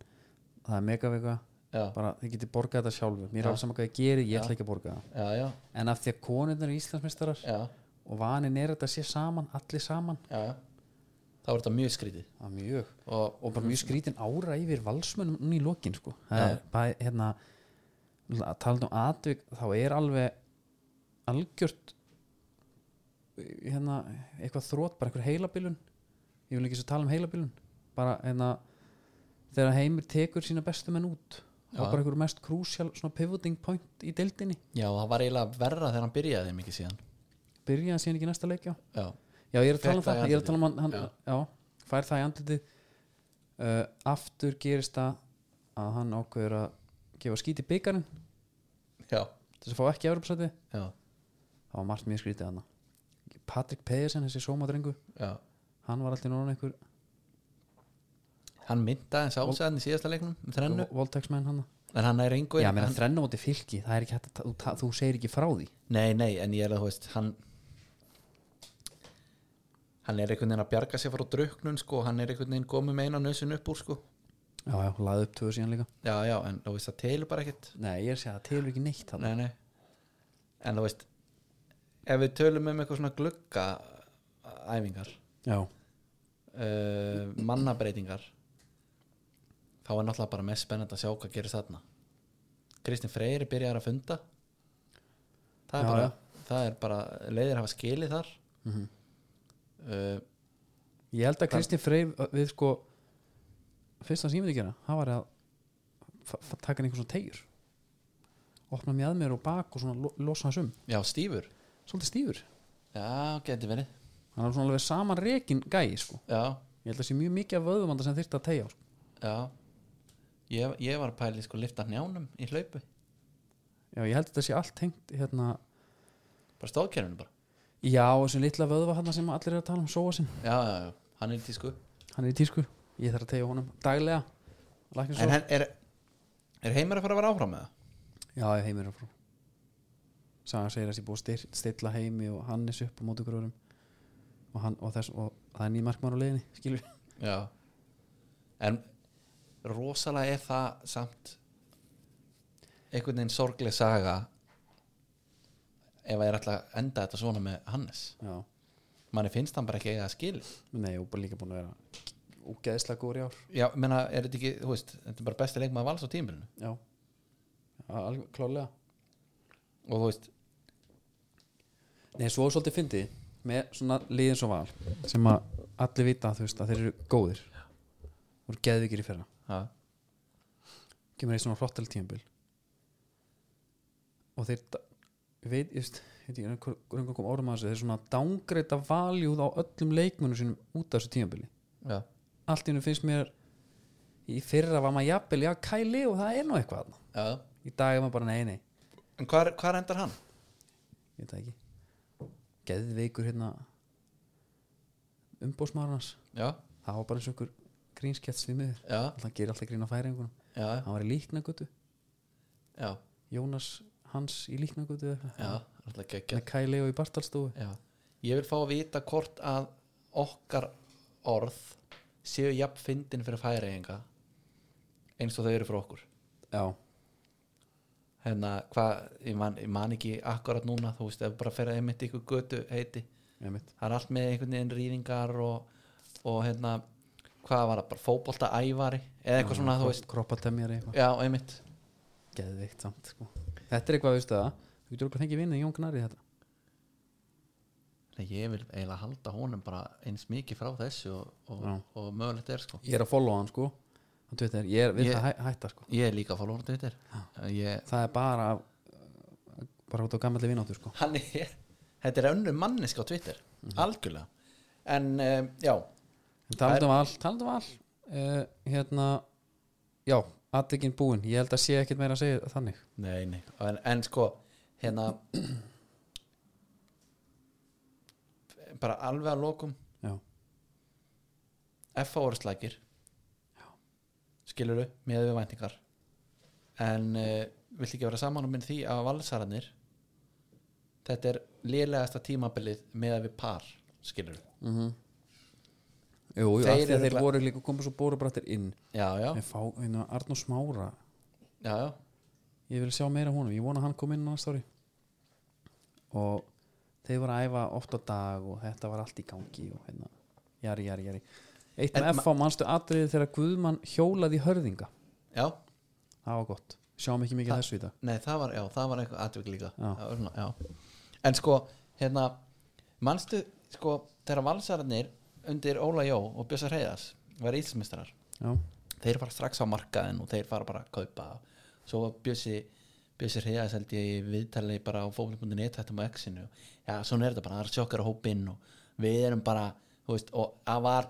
S1: það er megavega
S2: já,
S1: bara þið getið borgað þetta sjálfur mér er alveg saman hvað ég geri, ég ætla ekki að borga það
S2: já, já,
S1: en af því að konurnar er íslensmistarar
S2: já,
S1: og vanin er þetta sé saman, allir saman
S2: já, já. þá er þetta mjög skrítið
S1: það er mjög
S2: og,
S1: og bara mjög skrítin ára yfir valsmönnum núna í lokin sko það er bara hérna að tala um atvik þá er alveg algjört hérna eitthvað þrótt bara eitthvað heilabilun ég vil ekki svo tala um heilabilun bara hérna þegar heimir tekur sína bestu menn út þá
S2: Já.
S1: bara eitthvað mest krúsjál svona pivoting point í deildinni
S2: já, það var eiginlega verra þegar hann byrjaði mikið síðan
S1: byrjaði síðan ekki næsta leikja
S2: já,
S1: já ég er að tala um
S2: Fékk það
S1: það
S2: í
S1: ég er að tala um hann, hann já.
S2: andlitið.
S1: fær það í andlitið uh, aftur gerist það að hann ákveður að gefa skít í byggarinn
S2: já,
S1: til þess að fá ekki Evropasæti
S2: já,
S1: það var margt mjög skrítið hann Patrik Pedersen, þessi sómadrengu
S2: já.
S1: hann var alltaf núna einhver
S2: hann myndaði eins ásæðan í síðasta leiknum um
S1: Sko,
S2: þrennu,
S1: volteksmenn hann
S2: en hann er engu
S1: já, menn
S2: hann,
S1: að þrenna móti fylki það er ekki hægt að, þú, ta- þú segir ekki frá því
S2: nei, nei, en ég er að þú veist hann hann er einhvern veginn að bjarga sér frá druknun sko, hann er einhvern veginn komið með eina nösun upp úr sko,
S1: já, já, laði upp tvö síðan líka
S2: já, já, en þú veist það telur bara ekkert
S1: nei, ég er að segja, það telur ekki neitt hann
S2: nei, nei. en þú veist ef við tölum um eitthvað svona glugga æfingar
S1: já,
S2: uh, mannabreitingar þá er náttúrulega bara mest spennandi að sjá hvað gerir þarna Kristinn Freyri byrjar að funda það
S1: Já,
S2: er, bara,
S1: já. Mhm.
S2: það er bara leiðir hafa skilið þar uh,
S1: ég held að Kristinn Freyr við sko fyrst að símið ekki hérna, hann var að fa- fa- taka hann einhver svona tegjur opna mér að mér og bak og svona lo- losa hans um,
S2: já, Stífur
S1: svolítið stífur
S2: já, getur verið
S1: hann er svona alveg saman rekin gæi sko.
S2: já,
S1: ég held að sé mjög mikið af vöðumanda sem þyrfti að tegja sko.
S2: já ég, ég var að pæli sko lifta njánum í hlaupu
S1: Já, ég held að þetta sé allt tengt hérna
S2: bara stóðkerfinu bara
S1: Já, þessi litla vöðva hann sem allir er að tala um Sóa sinn,
S2: já, já, já, hann er í tísku
S1: hann er í tísku Ég þarf að tegja honum daglega Læknir
S2: en
S1: Sóa
S2: hann er, er heimur að fara að vera áfram með það
S1: Já, ég heimir er frá Saga segir að þessi búið að styr- stilla heimi og Hannes upp á móti gróðurum og, hann, og, þess, og það er nýmarkmann á leiðinni skilur
S2: Já En rosalega er það samt einhvern veginn sorgleg saga ef að ég er alltaf að enda þetta svona með Hannes
S1: (laughs) Já,
S2: manni finnst hann bara ekki eiga að skil
S1: nei, og bara líka búin að vera úgeðslega góður í ár
S2: Já, menna, er þetta ekki, þú veist þetta er bara besti leikmaður vals á tímbilinu
S1: Já, alveg klálega
S2: og þú veist,
S1: Nei, svo er svolítið fyndi með svona liðin svo val sem að allir vita þú veist að þeir eru góðir og eru geðvikir í fyrra
S2: ha,
S1: kemur eitt svona flottel tímabil og þeir da- ég veit, ég veist, veit ég hvernig kom orðum að þessu, þeir svona dángreita valjúð á öllum leikmönnum sínum út af þessu tímabili
S2: já,
S1: allt í hennu finnst mér í fyrra var maður jafnvel, já kæli og það er nú eitthvað þarna.
S2: já
S1: í dag er maður bara nei, nei,
S2: En hvar, hvar endar hann?
S1: ég veit það ekki geðveikur hérna umbósmaður hans
S2: Já,
S1: það var bara eins og einhver grínskjætt svimuður
S2: já,
S1: hann gerir alltaf grín á færingunum
S2: já,
S1: hann var í líknagötu,
S2: já
S1: Jónas Hans í líknagötu eða eitthvað.
S2: Já, alltaf gekkja
S1: með Kæli og í Bartalstofu
S2: Já. Ég vil fá að vita hvort að okkar orð séu jafn fyndin fyrir færiðinga eins og þau eru fyrir okkur
S1: já,
S2: hérna, hvað, ég man, ég man ekki akkurat núna, þú veist, ef bara fer að einmitt ykkur götu heiti,
S1: með mitt
S2: það er allt með einhvern veginn rýðingar og, og hérna, hvað var það, bara fótbolta ævari, eða eitthvað svona, þú veist
S1: kroppatemjar eitthvað,
S2: já, einmitt,
S1: geðvikt samt sko. þetta er eitthvað, veistu það þú getur okkur fengið vinnið Jón hérna. Gnari í þetta
S2: Nei, ég vil eiginlega halda honum bara eins mikið frá þessu og, og,
S1: Já.
S2: og mögulegt er, sko
S1: ég er að followa hann sko hann Twitter, ég er, vil
S2: Ég-
S1: það hæ, hætta sko
S2: ég er líka að fá lóna Twitter ég,
S1: það er bara af, uh, bara út á gammalli vinnáttur sko
S2: hann er þetta er önnur mannesk á Twitter algjörlega en um, já,
S1: en um talandum all, talandum all uh, hérna, já aðtökin búin, ég held að sé ekkert meira að segja þannig
S2: nei, nei. En, en sko hérna bara alveg að lokum
S1: já,
S2: F.A. voru slækir skiluru, með við væntingar en uh, vill ekki vera saman um minn því að valsararnir þetta er lélegasta tímabilið með við par skiluru,
S1: jú, jú,
S2: Mhm. Þeir
S1: þeir,
S2: eru
S1: þeir
S2: gla-
S1: voru líka komið svo bórubrættir inn
S2: já, já,
S1: en fá, hérna, Arnó Smára
S2: já, já.
S1: ég vil sjá meira af honum, ég vona að hann kom inn á næsta ári og þeir voru að æfa oft á dag og þetta var allt í gangi og hérna jari, jari, jari Eitt
S2: En
S1: með F á mannstu atriði þegar Guðmann hjólaði í hörðinga
S2: já,
S1: Það var gott, sjáum ekki mikið af þessu í dag
S2: nei það var, já, það var eitthvað atvik líka
S1: Já.
S2: Það var svona, já. en sko, hérna manstu, sko, þegar valsararnir undir Óla Jó og Bjösa Reyðas var íslmistrar
S1: Já,
S2: þeir fara strax á markaðin og þeir fara bara að kaupa svo var Bjössi Bjössi Reyðas held ég í viðtali bara á fókvöld.net hættum á X-inu já, svona er þetta bara, það er sjokkar að hópinn og við erum bara, þú veist, og það var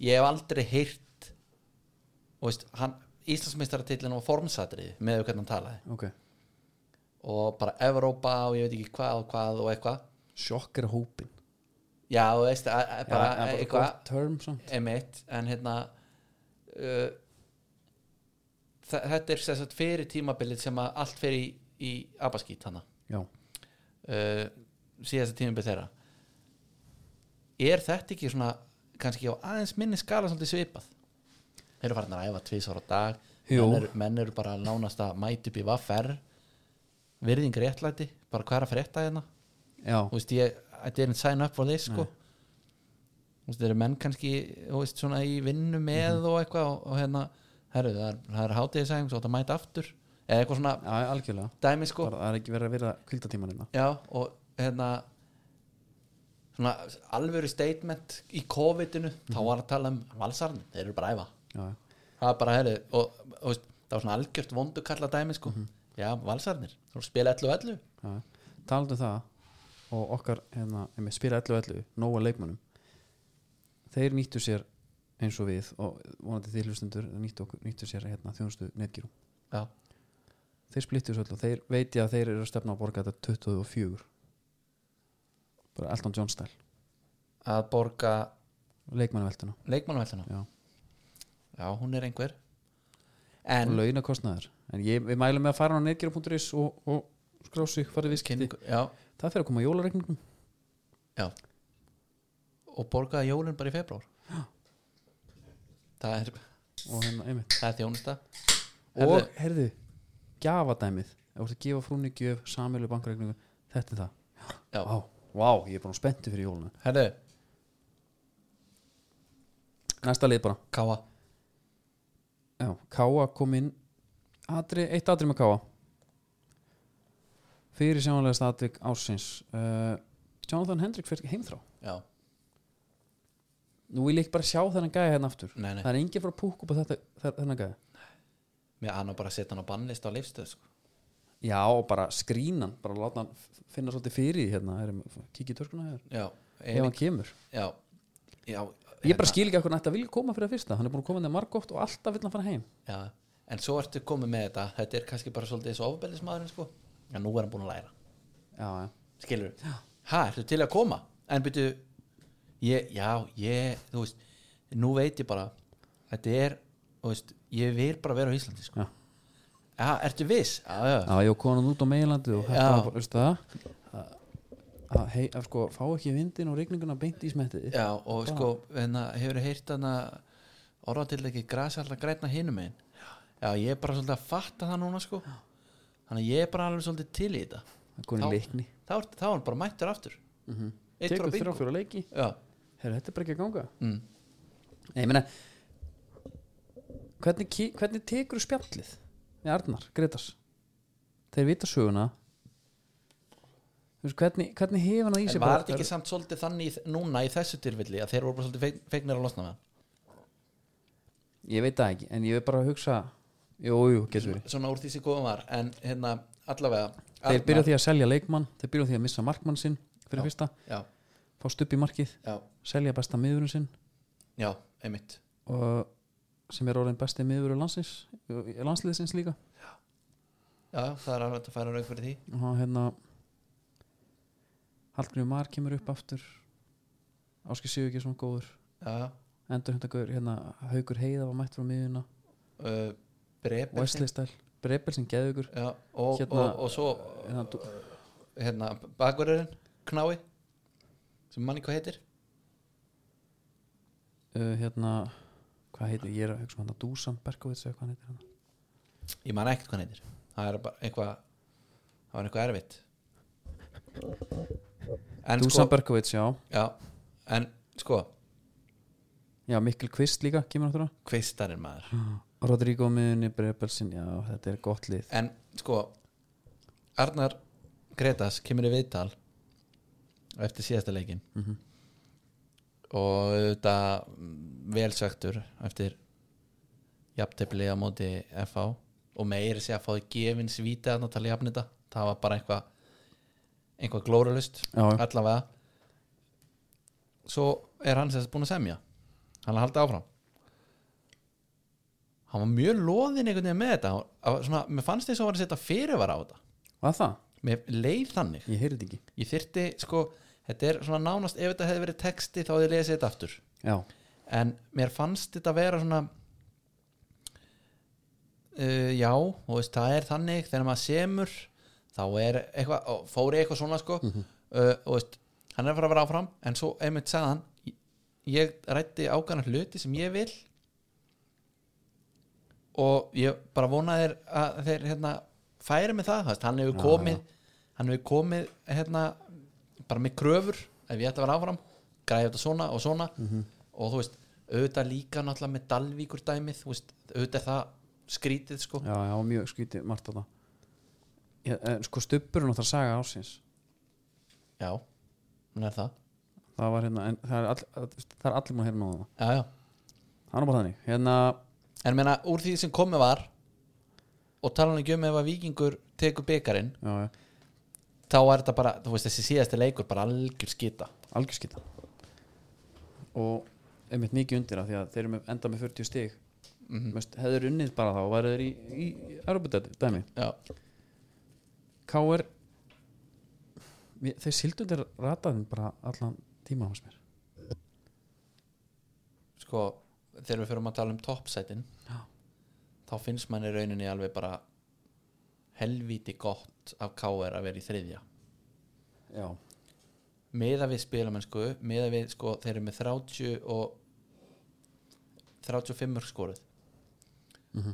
S2: ég hef aldrei heyrt þú veist, hann Íslandsmeistaratillin var formsatrið með því hvernig hann talaði
S1: ok
S2: og bara Evrópa og ég veit ekki hvað og hvað og eitthvað
S1: Sjokk er hópin
S2: já, þú veist, að- að-
S1: Já,
S2: bara
S1: það er bara
S2: eitthvað
S1: gott term samt
S2: emitt en hérna uh, þa- þetta er sess að fyrir tímabilið sem að allt fer í, í abaskít hana
S1: Já,
S2: uh, síðasta tímabilið þeirra er þetta ekki svona kannski á aðeins minni skala svolítið svipað þeir eru farin að æfa tvisar á dag
S1: Jú.
S2: menn eru, menn eru bara nánast að mæta upp í vaffer virðing réttlæti bara hvað er að frétta hérna
S1: já,
S2: þú veist ég, I didn't sign up for this sko þú veist, þeir eru menn kannski þú veist, svona í vinnu með og eitthvað og, og hérna, herru, það er, það er hátíðisæðing svo þetta mæta aftur, eða eitthvað svona
S1: já algjörlega
S2: dæmi sko,
S1: Bara, Það er ekki verið að vera kvildatímanina
S2: já og hérna svona alvöru statement í COVID-inu, þá var að tala um valsarn, þeir eru bara að æfa
S1: Já, já.
S2: það er bara, herru, og, og veist, það var svona algjört vondukalla dæmi sko já, valsarnir, þú eru að spila 11-11
S1: Já, talandi um það og okkar hérna, emi, spila 11-11 nóga leikmannum þeir nýttu sér eins og við og vonandi þeir hlustundur nýttu, okkur, nýttu sér hérna, þjónustu netgíru
S2: já,
S1: þeir splittu þessu öll og þeir veit ég að þeir eru að stefna að borga þetta 24 bara Elton John stæl
S2: að borga
S1: leikmannaveltuna
S2: leikmannaveltuna
S1: Já.
S2: já, hún er einhver
S1: og
S2: en
S1: launakostnaðar en ég, við mælum með að fara á netgíru.is og, og skrási farið viðskipti
S2: kynningu, já,
S1: það fyrir að koma jólareikningum
S2: já og borgaði jólin bara í februar það er,
S1: og hérna einmitt
S2: það er þjónusta
S1: og herðu, gjafadæmið ef þú ert að gefa frúni gjöf, samilu bankreikningu þetta er það
S2: Já.
S1: Vá, vá, ég er bara spenntu fyrir jóluna
S2: herðu,
S1: næsta lið bara
S2: káa
S1: Já, Káa kom inn atri, eitt atri með Káa fyrir sjáanlegast atrik ársins uh, Jonathan Hendrik fyrir heimþrá
S2: já,
S1: nú vil ég ekki bara sjá þennan gæja hérna aftur
S2: nei, nei,
S1: það er engin fyrir að púka upp á þetta, þe- þennan gæja
S2: mér hann á bara að setja hann á bannlist á leifstöð sko.
S1: já, og bara skrínan, bara láta hann f- finna svolítið fyrir því hérna erum, kikið törskuna hér,
S2: já,
S1: ef
S2: ef,
S1: hann kemur
S2: já, já hérna,
S1: Ég bara skil ekki okkur nætti að vilja koma fyrir að fyrsta Hann er búin að koma þegar margótt og alltaf vill hann fara heim
S2: já, en svo ertu komið með þetta þetta er kannski bara svolítið þessu ofbeldismadurinn sko. en nú er hann búin að læra
S1: Já, já,
S2: skilur ha, ertu til að koma en byrju, ég, já, ég þú veist, nú veit ég bara þetta er, þú veist ég vil bara vera á Íslandi, sko
S1: Já.
S2: já, ertu viss? já, já,
S1: já, ég konan út á meilandi og þetta
S2: Já.
S1: var bara, veistu það að- að hei, að sko, fá ekki vindin og regninguna beint í smettiði
S2: já og sko, hérna, hefur heyrt hana orða til ekki græsalla grætna hinum einn já, ég er bara svolítið að fatta það núna, sko þannig að ég er bara alveg svolítið til í þetta
S1: Konin
S2: Þá-
S1: leikni
S2: þá er, þá er hann bara mættur aftur mm -hmm. eitt
S1: Tekur
S2: frá
S1: þrjá
S2: bingo
S1: fyrir leiki
S2: já,
S1: Herra, þetta er bara ekki að ganga
S2: mm.
S1: Nei, ég meina Hvernig, ki- hvernig tekur spjallið með Arnar, Gretars Þeir vita söguna Þú veist, hvernig, hvernig hefur hann að
S2: En
S1: ísi
S2: var þetta ekki samt svolítið þannig í- núna í þessu tilfelli að þeir voru bara svolítið feik- feiknir að losna með hann
S1: Ég veit það ekki, en ég veit bara að hugsa Jú, jú, getur verið
S2: svona úr því sem góðum var en hérna allavega
S1: Þeir byrja á því að selja leikmann, þeir byrja á því að missa markmann sinn fyrir
S2: Já.
S1: fyrsta,
S2: já,
S1: fást upp í markið
S2: já,
S1: selja besta miðurinn sinn
S2: já, einmitt
S1: og sem er orðin besti miðurinn landsins landsliðsins líka
S2: já, það er alveg að færa rauk fyrir því
S1: og hann, hérna Hallgrímur Mar kemur upp aftur Áskir Sigurgesson góður
S2: já,
S1: endur hundagaur, hérna Haugur Heiða var mætt frá miðuna
S2: uh, brepel
S1: Wesley Stæl, Breppel sem geðu ykkur
S2: já, og,
S1: Hérna-
S2: og, og svo
S1: hérna, dú-
S2: hérna bakverðurinn, knái sem manni hvað heitir
S1: uh, hérna hvað heitir, ég er að hugsa um hann að Dúsan Berkovits eða hvað hann heitir hérna. hann
S2: ég man ekkert hvað hann heitir það er bara eitthvað það var eitthvað erfitt en sko-
S1: Dúsan Berkovits, já,
S2: Já, en sko
S1: já, Mikkel Kvist líka kemur náttúrulega
S2: kvistarinn maður
S1: Rodrigo miðunni, Brebelsin, já, þetta er gott lið
S2: en sko Arnar Gretas kemur í viðtal eftir síðasta leikin
S1: Mhm.
S2: og þetta velsöktur eftir jafntefli á móti FH og meiri sé að fáði gefins víti að náttúrulega jafnita það var bara eitthvað eitthvað glóralust
S1: Já, já.
S2: allavega svo er hann sem sagt búin að semja hann er að halda áfram hann var mjög loðin einhvern veginn með þetta Hann- hann var svona, mér fannst þess að hann var að setja fyrirvara á þetta
S1: Hvað það?
S2: mér leið þannig
S1: Ég heyrði ekki
S2: ég þyrti sko, þetta er svona nánast ef þetta hefði verið texti þá hefði ég lesið þetta aftur
S1: Já,
S2: en mér fannst þetta vera svona uh, já, og veist, það er þannig þegar maður semur þá er eitthvað, og fór ég eitthvað svona sko
S1: Mhm.
S2: uh, og veist, hann er að fara að vera áfram en svo einmitt sagði hann "Ég- ég rætti ákvæmna hluti sem ég vil og ég bara vona þér að þeir hérna færi með það, þú veist, hann hefur
S1: Já,
S2: komið hann hefur komið hérna bara með kröfur ef ég ætla að vera áfram græði þetta svona og svona
S1: mhm.
S2: og þú veist, auðvitað líka náttúrulega með Dalvíkur dæmið, þú veist, auðvitað er það skrítið sko
S1: já, já, mjög skrítið margt á það já, en, Sko stubbur er náttúrulega saga ásins
S2: Já, hún er það
S1: Það var hérna, en það er, all, það er allir múin að hérna á það
S2: já, já.
S1: Það er nú bara þannig Hérna,
S2: En meina, úr því sem komið var og tala hann ekki um ef að vikingur tekur byggarinn,
S1: já, já,
S2: þá er þetta bara, þú veist, þessi síðasti leikur bara algjör skita
S1: algjörskita Og einmitt mikið undir að því að þeir eru með, enda með 40 stig mm
S2: Mhm.
S1: -hmm. Hefur unnið bara þá og værið þeir í, í Europatæti, dæmi
S2: Já,
S1: K.R. Mér- Þeir sildu undir rataðin bara allan tíma hans mér
S2: sko, þegar við fyrir að tala um toppsætin
S1: Já.
S2: þá finnst manni rauninni alveg bara helvíti gott af KR að vera í þriðja
S1: Já,
S2: meða við spilamennsku meða við, sko, þeir eru með 30 og 35 mörg skoruð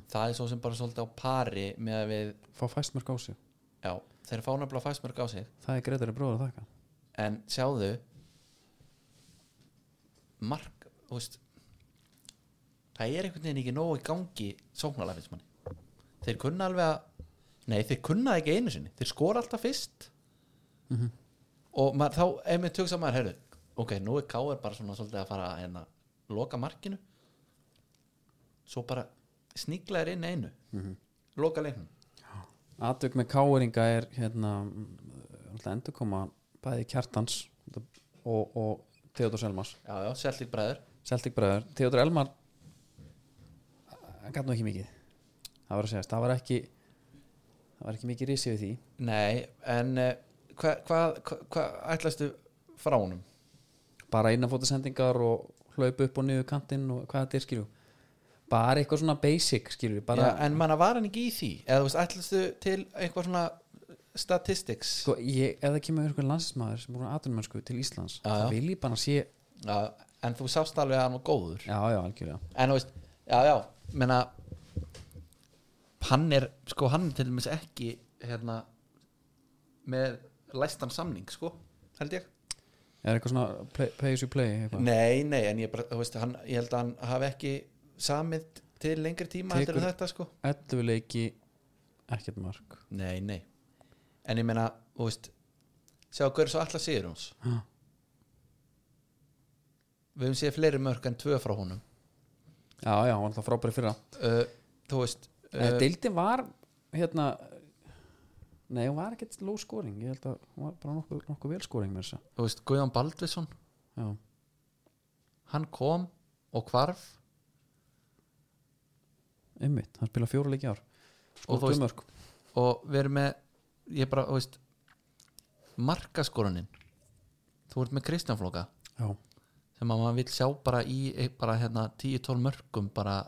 S2: það er svo sem bara svolítið á pari meða við
S1: fá fæstmörk á sig
S2: Já, þeir fá nefnilega fæstmörg á sig
S1: Það er Gretari bróður að þakka
S2: en sjáðu mark, þú veist það er einhvern veginn ekki nógu í gangi sóknarlega finnst manni þeir kunna alveg að nei, þeir kunna það ekki einu sinni, þeir skora alltaf fyrst og maður, þá ef mér tökst að maður, heyrðu ok, nú er K.R. bara svona svolítið að fara að hérna, loka markinu svo bara sníkla er inn einu loka leiknum
S1: Atök með káringa er hérna alltaf endur koma bæði kjartans og, og Theodor Selmars
S2: já, já, Celtic bræður
S1: Celtic bræður, Theodor Elmar hann gæt nú ekki mikið það var að segja, það var ekki það var ekki mikið risi við því
S2: Nei, en eh, hvað hva, hva, hva ætlastu frá honum?
S1: bara innanfótasendingar og hlaup upp og niður kantinn og hvað þetta er skilju bara eitthvað svona basic skilju bara,
S2: Já, en manna var hann ekki í því eða þú veist, ætlastu til eitthvað svona statistics
S1: sko, ég, ef það kemur einhvern landsinsmaður sem búin að atunmennsku til Íslands
S2: Já, já.
S1: það vil ég bara sé,
S2: já, en þú sást alveg að hann var góður
S1: já já algjörlega
S2: en þú veist, já, já, menna hann er, sko, hann er til dæmis ekki hérna með læstan samning, sko held ég
S1: er eitthvað svona play, pay as you play eitthvað
S2: Nei, nei, en ég bara, þú veist, hann, ég held að hann hafi ekki samið til lengri tíma heldur en
S1: Tekur-
S2: þetta, sko
S1: 11 leiki ekkert mark
S2: Nei, nei En ég meina, þú veist Sjá, hver er svo allar sigur hans
S1: Ha.
S2: Við höfum séð fleiri mörg en tvö frá honum
S1: já, já, hann var alltaf frábæri fyrra
S2: uh, Þú veist
S1: uh,
S2: uh,
S1: deildin var hérna nei, hún var ekkert low scoring ég held að hún var bara nokkuð, nokkuð vel scoring með þessa
S2: Þú veist, Guðjón Baldvinsson
S1: já,
S2: Hann kom og hvarf
S1: einmitt, hann spila fjóra leiki í ár
S2: Og þú
S1: skoð
S2: veist-
S1: mörg
S2: Og við erum með Ég bara, þú veist Markaskorunin Þú ert með Kristján Flóka
S1: já,
S2: sem að maður vill sjá bara í bara hérna 10-12 mörgum bara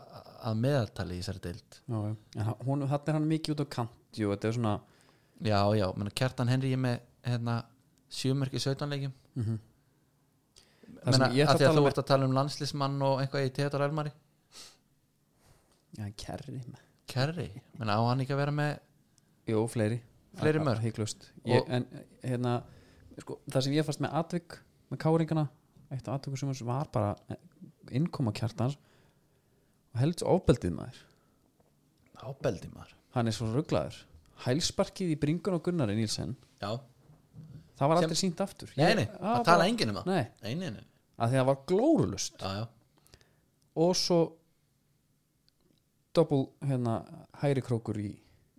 S2: að meðaltali í þessari deild
S1: já, já. En hún, þetta er hann mikið út á kant jú, þetta er svona
S2: Já, já, menn Kjartan Henry er með hérna, sjömerk í 17 leikjum
S1: mm það
S2: menna,
S1: sem ég
S2: að
S1: ætla að
S2: því að þú
S1: tala
S2: ert að tala um landslismann og eitthvað í Teodor Elmari
S1: með já, kerri
S2: Kerry, menna á hann ekki að vera með
S1: jú, fleiri
S2: Fleiri mörk?
S1: hygglust ég,
S2: Og-
S1: en hérna, sko, það sem ég fannst með atvik með káringana eitt af atvikum sem var bara innkoma kjartans og helds ofbeldið maður
S2: ábeldi maður
S1: hann er svo rugglaður hælsparkið í bringun og Gunnari Nílsen
S2: já,
S1: það var
S2: Sem-
S1: aldrei sínt aftur Ah,
S2: nei, nei, það tala enginn um það
S1: nei,
S2: nei, nei, nei,
S1: að því að það var glórulust
S2: já, já,
S1: og svo doppul hérna hæri krókur í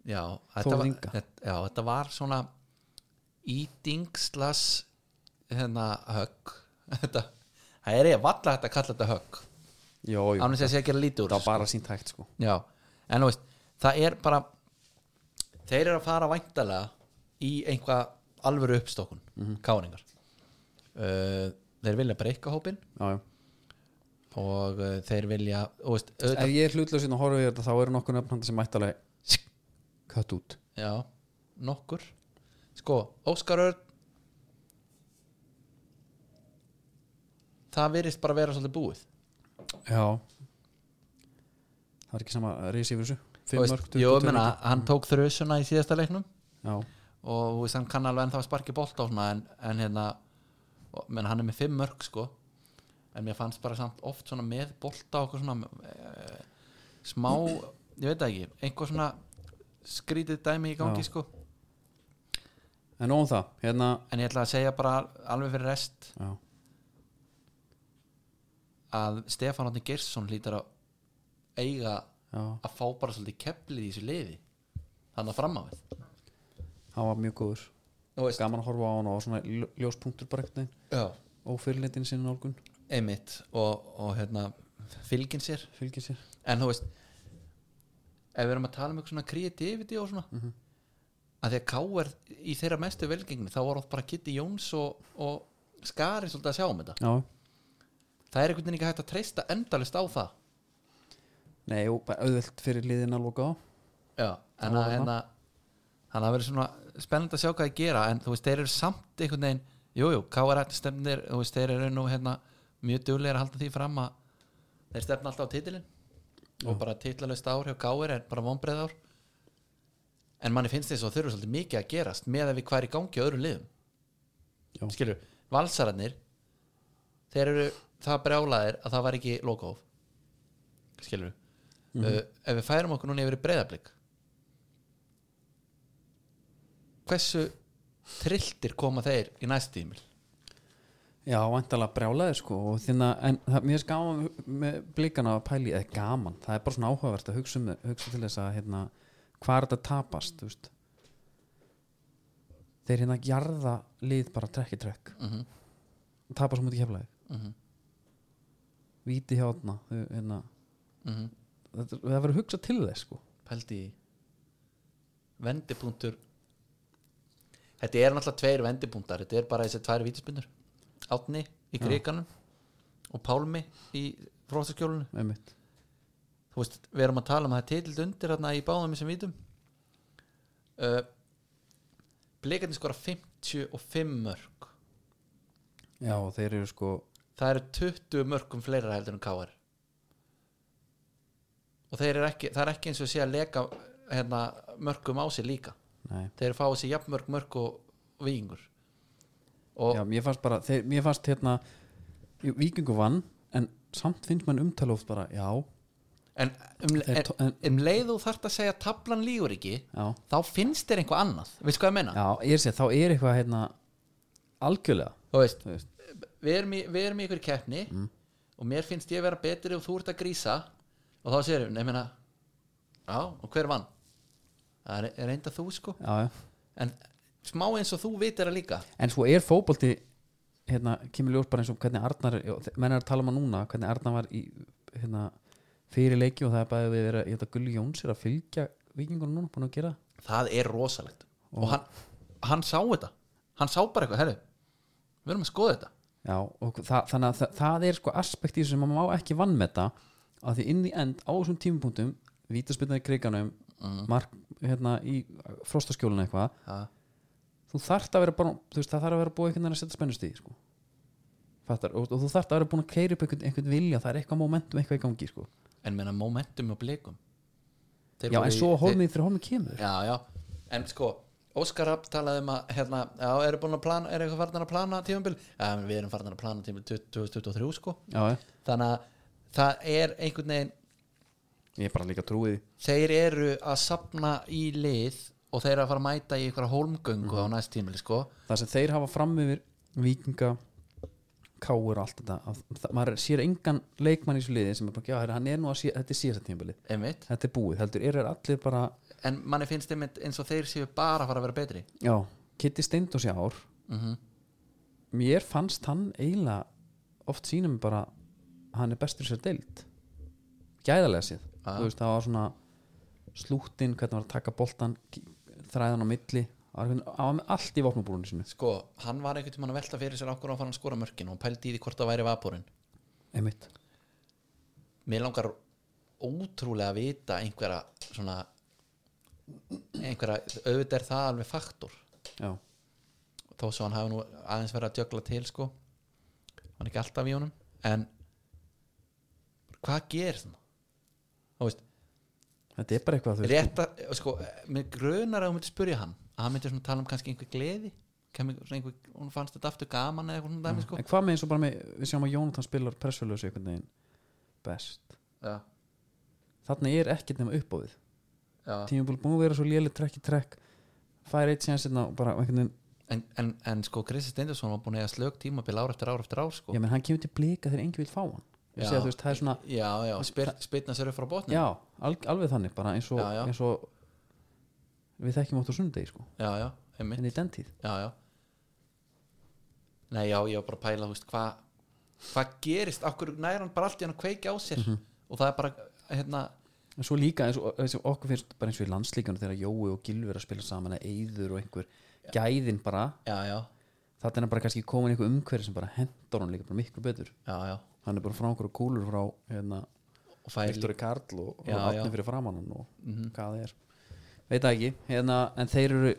S2: já þetta, var,
S1: Inga.
S2: þetta, já þetta var svona ítingslas hérna högg (laughs) þetta, það er ég valla þetta að kalla þetta högg
S1: jó, jó,
S2: annars að sé að gera lítið úr
S1: það var bara sínt hægt sko
S2: já, en þú veist, það er bara þeir eru að fara væntalega í einhvað alvöru uppstokkun
S1: Mhm.
S2: káringar uh, þeir vilja breyka hópin
S1: já, já.
S2: og uh, þeir vilja og veist, auðvitað,
S1: ef ég er hlutlausinn og horfið þetta þá eru nokkur nöfnandi sem mætti alveg kött út
S2: Já, nokkur Sko, Óskar Örn Það virðist bara vera svolítið búið
S1: já það er ekki sama reysi yfir þessu
S2: Þú
S1: fimm
S2: veist,
S1: mörg,
S2: Jó,
S1: 22
S2: menna,
S1: mínútur.
S2: hann tók þrjusuna í síðasta leiknum
S1: já,
S2: og þú veist, hann kann alveg en það sparki bolt á svona en, en hérna og- menn hann er með fimm mörg sko en mér fannst bara samt oft svona með bolta okkur svona e, smá, ég veit það ekki einhver svona skrítið dæmi í gangi
S1: Já.
S2: sko
S1: en nóðum það hérna
S2: en ég ætla að segja bara alveg fyrir rest
S1: já,
S2: að Stefán Átni Geirsson hlýtar að eiga
S1: já,
S2: að fá bara svolítið keflið í þessu liði þannig að fram á við
S1: hann var mjög góður
S2: Þú veist,
S1: gaman að horfa á hann og á svona ljó- ljóspunktur bara einhvern veginn
S2: já,
S1: og fyrirlitin sinni nálgun
S2: einmitt og, og hérna, fylgin sér
S1: fylgir sér
S2: en þú veist ef við erum að tala um eitthvað svona creativity og svona mm -hmm. að því að K.R. í þeirra mestu velgengni þá var oft bara Kitty Jóns og, og Skari svolítið að sjá um þetta
S1: já,
S2: það er einhvern veginn ekki hægt að treysta endalist á það
S1: nei, og bara auðvelt fyrir liðin að loka á
S2: Já, en
S1: var
S2: að
S1: það.
S2: hérna þannig að það verður svona spennandi að sjá hvað það gera en þú veist, þeir eru samt einhvern veginn jújú, jú, KR stefnir, þú veist, þeir eru nú hérna mjög duglegir að halda því fram að þeir stefna alltaf á titilin og bara titlalöst ár hjá KR er bara vonbreið ár en manni finnst þess að þau eru svolítið mikið að gerast með að við hvað er í gangi á öðrum liðum
S1: Já.
S2: skilur, valsararnir þeir eru það brjálaðir að það var ekki lokóf skilur
S1: Mhm.
S2: uh, ef við færum okkur núna yfir í breyðablík hversu trilltir koma þeir í næst tímil
S1: Já, vantalega brjálaðir sko og þinn að, en það, mér finnst gaman með blikana að pæli, eða gaman það er bara svona áhugavert að hugsa, um, hugsa til þess að hérna, hvað er þetta tapast þú veist þeir hérna jarða lið bara trekk í trekk
S2: mm -hmm.
S1: og tapa svo mútið keflaði
S2: mm -hmm.
S1: víti hjá þarna þau, hérna, þetta, það verður hugsa til þess sko
S2: pældi í vendipunktur þetta er náttúrulega tveir vendipunktar þetta er bara þessi tvær vítispinnur Átni í
S1: Já.
S2: Gríkanum og Pálmi í fróstaskjólinu
S1: einmitt,
S2: þú veist, við erum að tala um að það er titild undir hérna í báðum þessum vítum uh, Blikarnir skora 55 mörg
S1: já og þeir eru sko
S2: það eru 20 mörgum fleira heldur en KR og þeir eru ekki, það er ekki eins og sé að leka hérna, mörgum á sig líka
S1: nei,
S2: þeir fá þessi jafnmörg mörg og, og vikingur og
S1: já, mér fannst bara þeir, mér fannst hérna jú, víkingu vann, en samt finnst mann umtala oft bara, já,
S2: en, um,
S1: þeir,
S2: en,
S1: to- en,
S2: um leið þú þarft að segja að taflan lígur ekki
S1: já
S2: þá finnst þér einhvað annað, veistu hvað ég menna?
S1: Já, ég sé, þá er eitthvað hérna algjörlega,
S2: þú veist,
S1: þú veist
S2: við erum í, við erum í ykkur keppni og mér finnst ég vera betri og þú ert að grísa og þá sérum, nefnina já, og hver vann? það er, er enda þú sko
S1: já, já.
S2: en smá eins og þú vitir það líka
S1: En svo er fótbolti hérna, kemur ljós bara eins og hvernig Arnar já, þe- menn er að tala um hann núna, hvernig Arnar var í hérna, fyrir leiki og það er bara við vera, ég held að Gulli Jóns er að fylgja vikingunum núna, búin að gera það.
S2: það er rosalegt og hann, hann sá þetta hann sá bara eitthvað, herru við erum að skoða þetta
S1: Já, og það, þannig að það, það er sko aspekt í þessu sem maður má ekki vann með það að því inn í end á þessum tímapunktum vítaspinnar í kriganum mark, hérna, í frostaskjólinu eitthvað
S2: það,
S1: þú þarft að vera bara, þú veist, það þarf að vera búið einhvern veginn að setja spennust í, sko Fattar, og, og þú þarft að vera búin að keira upp einhvern, einhvern vilja, það er eitthvað momentum eitthvað í gangi, sko
S2: en meina momentum og blikum Þeir
S1: já,
S2: voru
S1: en
S2: í-
S1: svo
S2: þeir-
S1: holmið fyrir holmið kemur
S2: já, já, en sko Óskar Rapp talaði um að hérna, já, eru búin að plana, eru eitthvað farnar að plana tímabil já, menn við erum farnar að plana tímabil 2023 sko
S1: já,
S2: þannig að það er einhvern veginn
S1: ég er bara líka trúið því.
S2: þeir eru að sapna í lið og þeir eru að fara að mæta í einhverja hólmgöngu á næst tímili sko
S1: það sem þeir hafa fram yfir vikinga káur og allt þetta að, það, maður sér engan leikmann í svo liði sem er bara, já, herra, hann er nú að sé, þetta er síðast tímabili
S2: einmitt.
S1: þetta er búið, heldur, eru þeir allir bara
S2: en manni finnst einmitt eins og þeir séu bara að fara að vera betri
S1: já, Kitty Steindós í ár
S2: Mhm.
S1: mér fannst hann eiginlega oft sínum bara hann er bestur sér deild gæðarlega séð
S2: Já.
S1: Þú veist, það var svona slúttinn, hvernig var að taka boltan þræðan á milli Það var einhvern- hann var með allt í vopnabúrunni sinu
S2: sko, hann var einhvern tímann að velta fyrir sér okkur á að fara að skora mörkin og pældi í því hvort það væri vapurinn
S1: einmitt,
S2: mér langar ótrúlega að vita einhverja svona einhverja, auðvitað er það alveg faktor
S1: já,
S2: þó svo hann hafi nú aðeins verið að djögla til sko hann er ekki alltaf í honum en hvað gerir það? Þú veist,
S1: þetta er bara eitthvað þú veist.
S2: rétt að, sko, mér grunar að hún myndi spyrja hann að hann myndi svona tala um kannski einhver gleði kemur svona einhver, hún fannst þetta aftur gaman eða eitthvað svona dæmi sko
S1: en hvað með eins og bara með, við sjáum að Jónatan spilar pressfjöluðs einhvern veginn best
S2: já,
S1: þarna er ekkert nema uppáðið
S2: já.
S1: tímabúl búin að vera svo léli trekk í trekk fær eitt sér sérna og bara einhvern veginn
S2: En, en, en sko Kristi Steindarsson var búin að eiga slög tímabil ár eftir ár eftir ár sko
S1: já, menn hann kemur til blika þegar engi vil fá hann
S2: Já.
S1: ég segja, þú veist, það er svona
S2: já, já, spyr, spyrna sér upp frá botnum
S1: já, al, alveg þannig, bara eins og,
S2: Já, já.
S1: Eins og við þekkjum átt á sundegi sko,
S2: já, já, einmitt
S1: en í den tíð
S2: já, já Nei, já, ég var bara að pæla, þú veist, hvað hvað gerist, okkur næra hann bara allt í hann að kveiki á sér
S1: Mhm.
S2: og það er bara, hérna
S1: en svo líka, eins og, eins og okkur finnst bara eins og í landslíkjunum þegar Jói og Gilvi er að spila saman eða Eyður og einhver, gæðin bara
S2: já, já,
S1: þetta er bara kannski komin einhver umhverf sem bara hendur hann líka bara miklu betur
S2: já, já
S1: hann er bara frá einhverju kúlur frá hérna,
S2: og fæl,
S1: Viktori Karl og, og
S2: Já, já. Mhm.
S1: Átni fyrir framann og hvað það er veit það ekki, hérna, en þeir eru uh,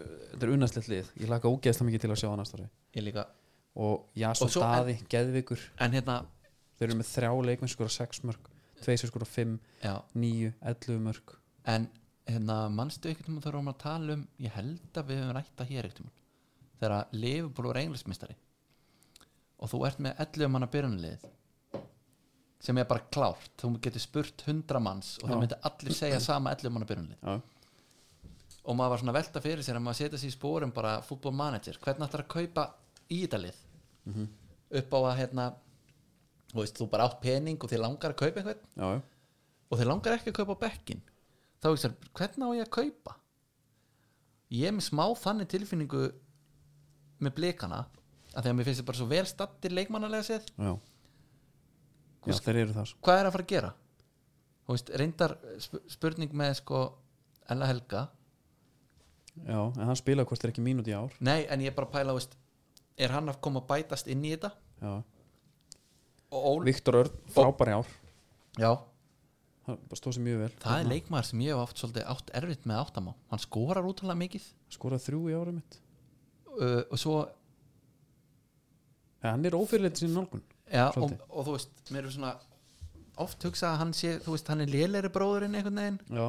S1: þetta er unnastlegt lið, ég laka ógeðslega mikið til að sjá hann næsta ári
S2: ég líka
S1: og Jason
S2: Og svo-
S1: Daði, Geðvikur
S2: en hérna,
S1: þeir eru með þrjá leikmenn skora 6 mörg 2 skora 5,
S2: já,
S1: 9, 11 mörg
S2: en hérna, manstu ekkert um að þurfum að tala um ég held að við höfum rætt það hér ekkert um þegar að Liverpool er englismistari og þú ert með 11 manna byrjunlið sem er bara klárt, þú getur spurt 100 manns og
S1: Já.
S2: þeir myndi allir segja sama 11 manna byrjunlið
S1: já,
S2: og maður var svona að velta fyrir sér að maður setja sér í spórum bara fútbol manager hvernig ætlar að kaupa í þetta lið
S1: Mhm.
S2: upp á að hérna þú veist, þú bara átt pening og þið langar að kaupa
S1: já,
S2: einhvern
S1: já.
S2: og þið langar ekki að kaupa á bekkin þá hugsaður, hvernig á ég að kaupa ég er með smá þannig tilfinningu með blikana að því að mér finnst þið bara svo vel stattir leikmannalega séð
S1: já. já þeir eru það sko.
S2: hvað er að fara að gera þú veist, reyndar sp- spurning með sko Ella Helga
S1: já, en hann spilaði hvort er ekki mínúti í ár
S2: nei, en ég er bara að pæla, þú veist er hann að koma að bætast inn í þetta
S1: já.
S2: og Ól
S1: Viktor Örn, frábæri ár
S2: Já,
S1: hann stóð sér mjög vel
S2: það er leikmaður sem ég hef oft svolítið átt erfitt með áttamá hann skorar útalega mikið
S1: skoraði þrjú í árum mitt
S2: uh, og svo
S1: ja, hann er ófyrirleiti sinni nálgun
S2: já, og,
S1: Svolítið.
S2: og þú veist, mér er svona oft hugsað að hann sé, þú veist, hann er lélegri bróðurinn einhvern veginn
S1: Já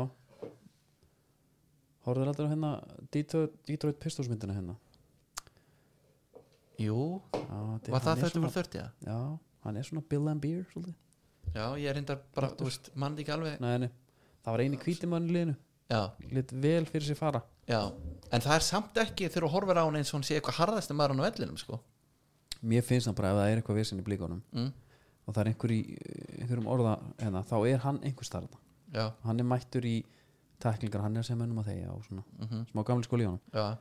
S1: Hóruður aldrei á hérna Detroit, Detroit Pistols myndina hérna
S2: Jú,
S1: Já, þetta- hann
S2: var það
S1: er
S2: þetta sko.
S1: svona-
S2: var 30 eða?
S1: Já, hann er svona Bill and Beer svolítið.
S2: Já, ég er reyndar bara, þú veist, mann ekki alveg
S1: Nei, nei, það var eini kvítimann í liðinu
S2: Já,
S1: Lit vel fyrir sér fara
S2: já, en það er samt ekki þegar þú horfir á hann eins og hann sé eitthvað harðasti maður hann á vellinum, sko
S1: Mér finnst það bara ef það er eitthvað vesinn í blíkonum
S2: mm.
S1: og það er einhver í einhverjum orða hérna, þá er hann einhver starða
S2: Já,
S1: Hann er mættur í tæklingar, hann er sem önum að þegja og svona
S2: mm
S1: smá gamli skóli í honum
S2: já,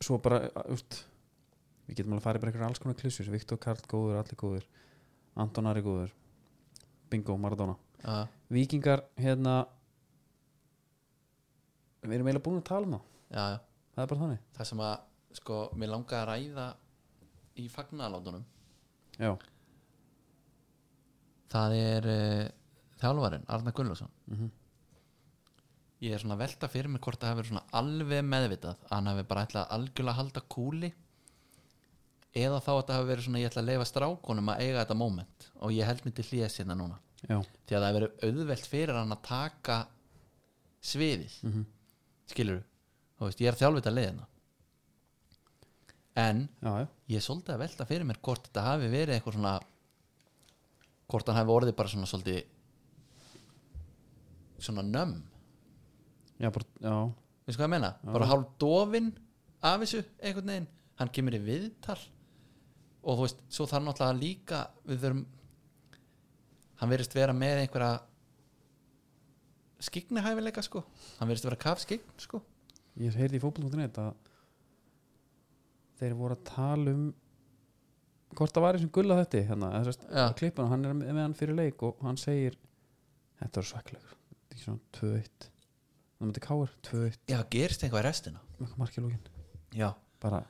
S1: Svo bara, úst, við getum alveg að fara yfir einhverjum alls konar klissur Viktor Karl góður, allir góður Anton Ari góður Bingo, Maradona
S2: já,
S1: Víkingar hérna við erum eiginlega búin að tala um það
S2: já, já
S1: það er bara þannig
S2: Það sem að, sko, mér langaði að ræða í fagnalátunum
S1: já,
S2: það er uh, þjálfarinn, Arna Gunnlaugsson
S1: Mhm.
S2: ég er svona að velta fyrir mig hvort það hefur svona alveg meðvitað að hann hefur bara ætlað að algjörlega halda kúli eða þá að það hefur verið svona ég ætla að leifa strákunum að eiga þetta moment og ég held mér til hlýja sérna núna
S1: já,
S2: því að það hefur verið auðvelt fyrir hann að taka sviðið mm -hmm. skilur þú veist, ég er þjálfvita leiðina en
S1: já, já,
S2: ég er svolítið að velta fyrir mér hvort þetta hafi verið eitthvað svona hvort hann hefði orðið bara svona svolítið svona nömm
S1: já, bara, já,
S2: veist hvað ég meina, bara hálf dofin af þessu einhvern veginn hann kemur í viðtal og þú veist, svo þarf náttúrulega líka við þurfum hann verðist vera með einhverja skiknihæfileika sko hann verðist vera kafskikn sko
S1: ég heyrði í fótboll.net að þeir voru að tala um hvort það var í sem gulla þetta hérna, eða sérst,
S2: Já.
S1: klippun og hann er með hann fyrir leik og hann segir þetta er svekklegur, þetta er svona 2-1 það myndi káir, 2-1
S2: já, gerist eitthvað í restina
S1: með markilógin,
S2: já,
S1: bara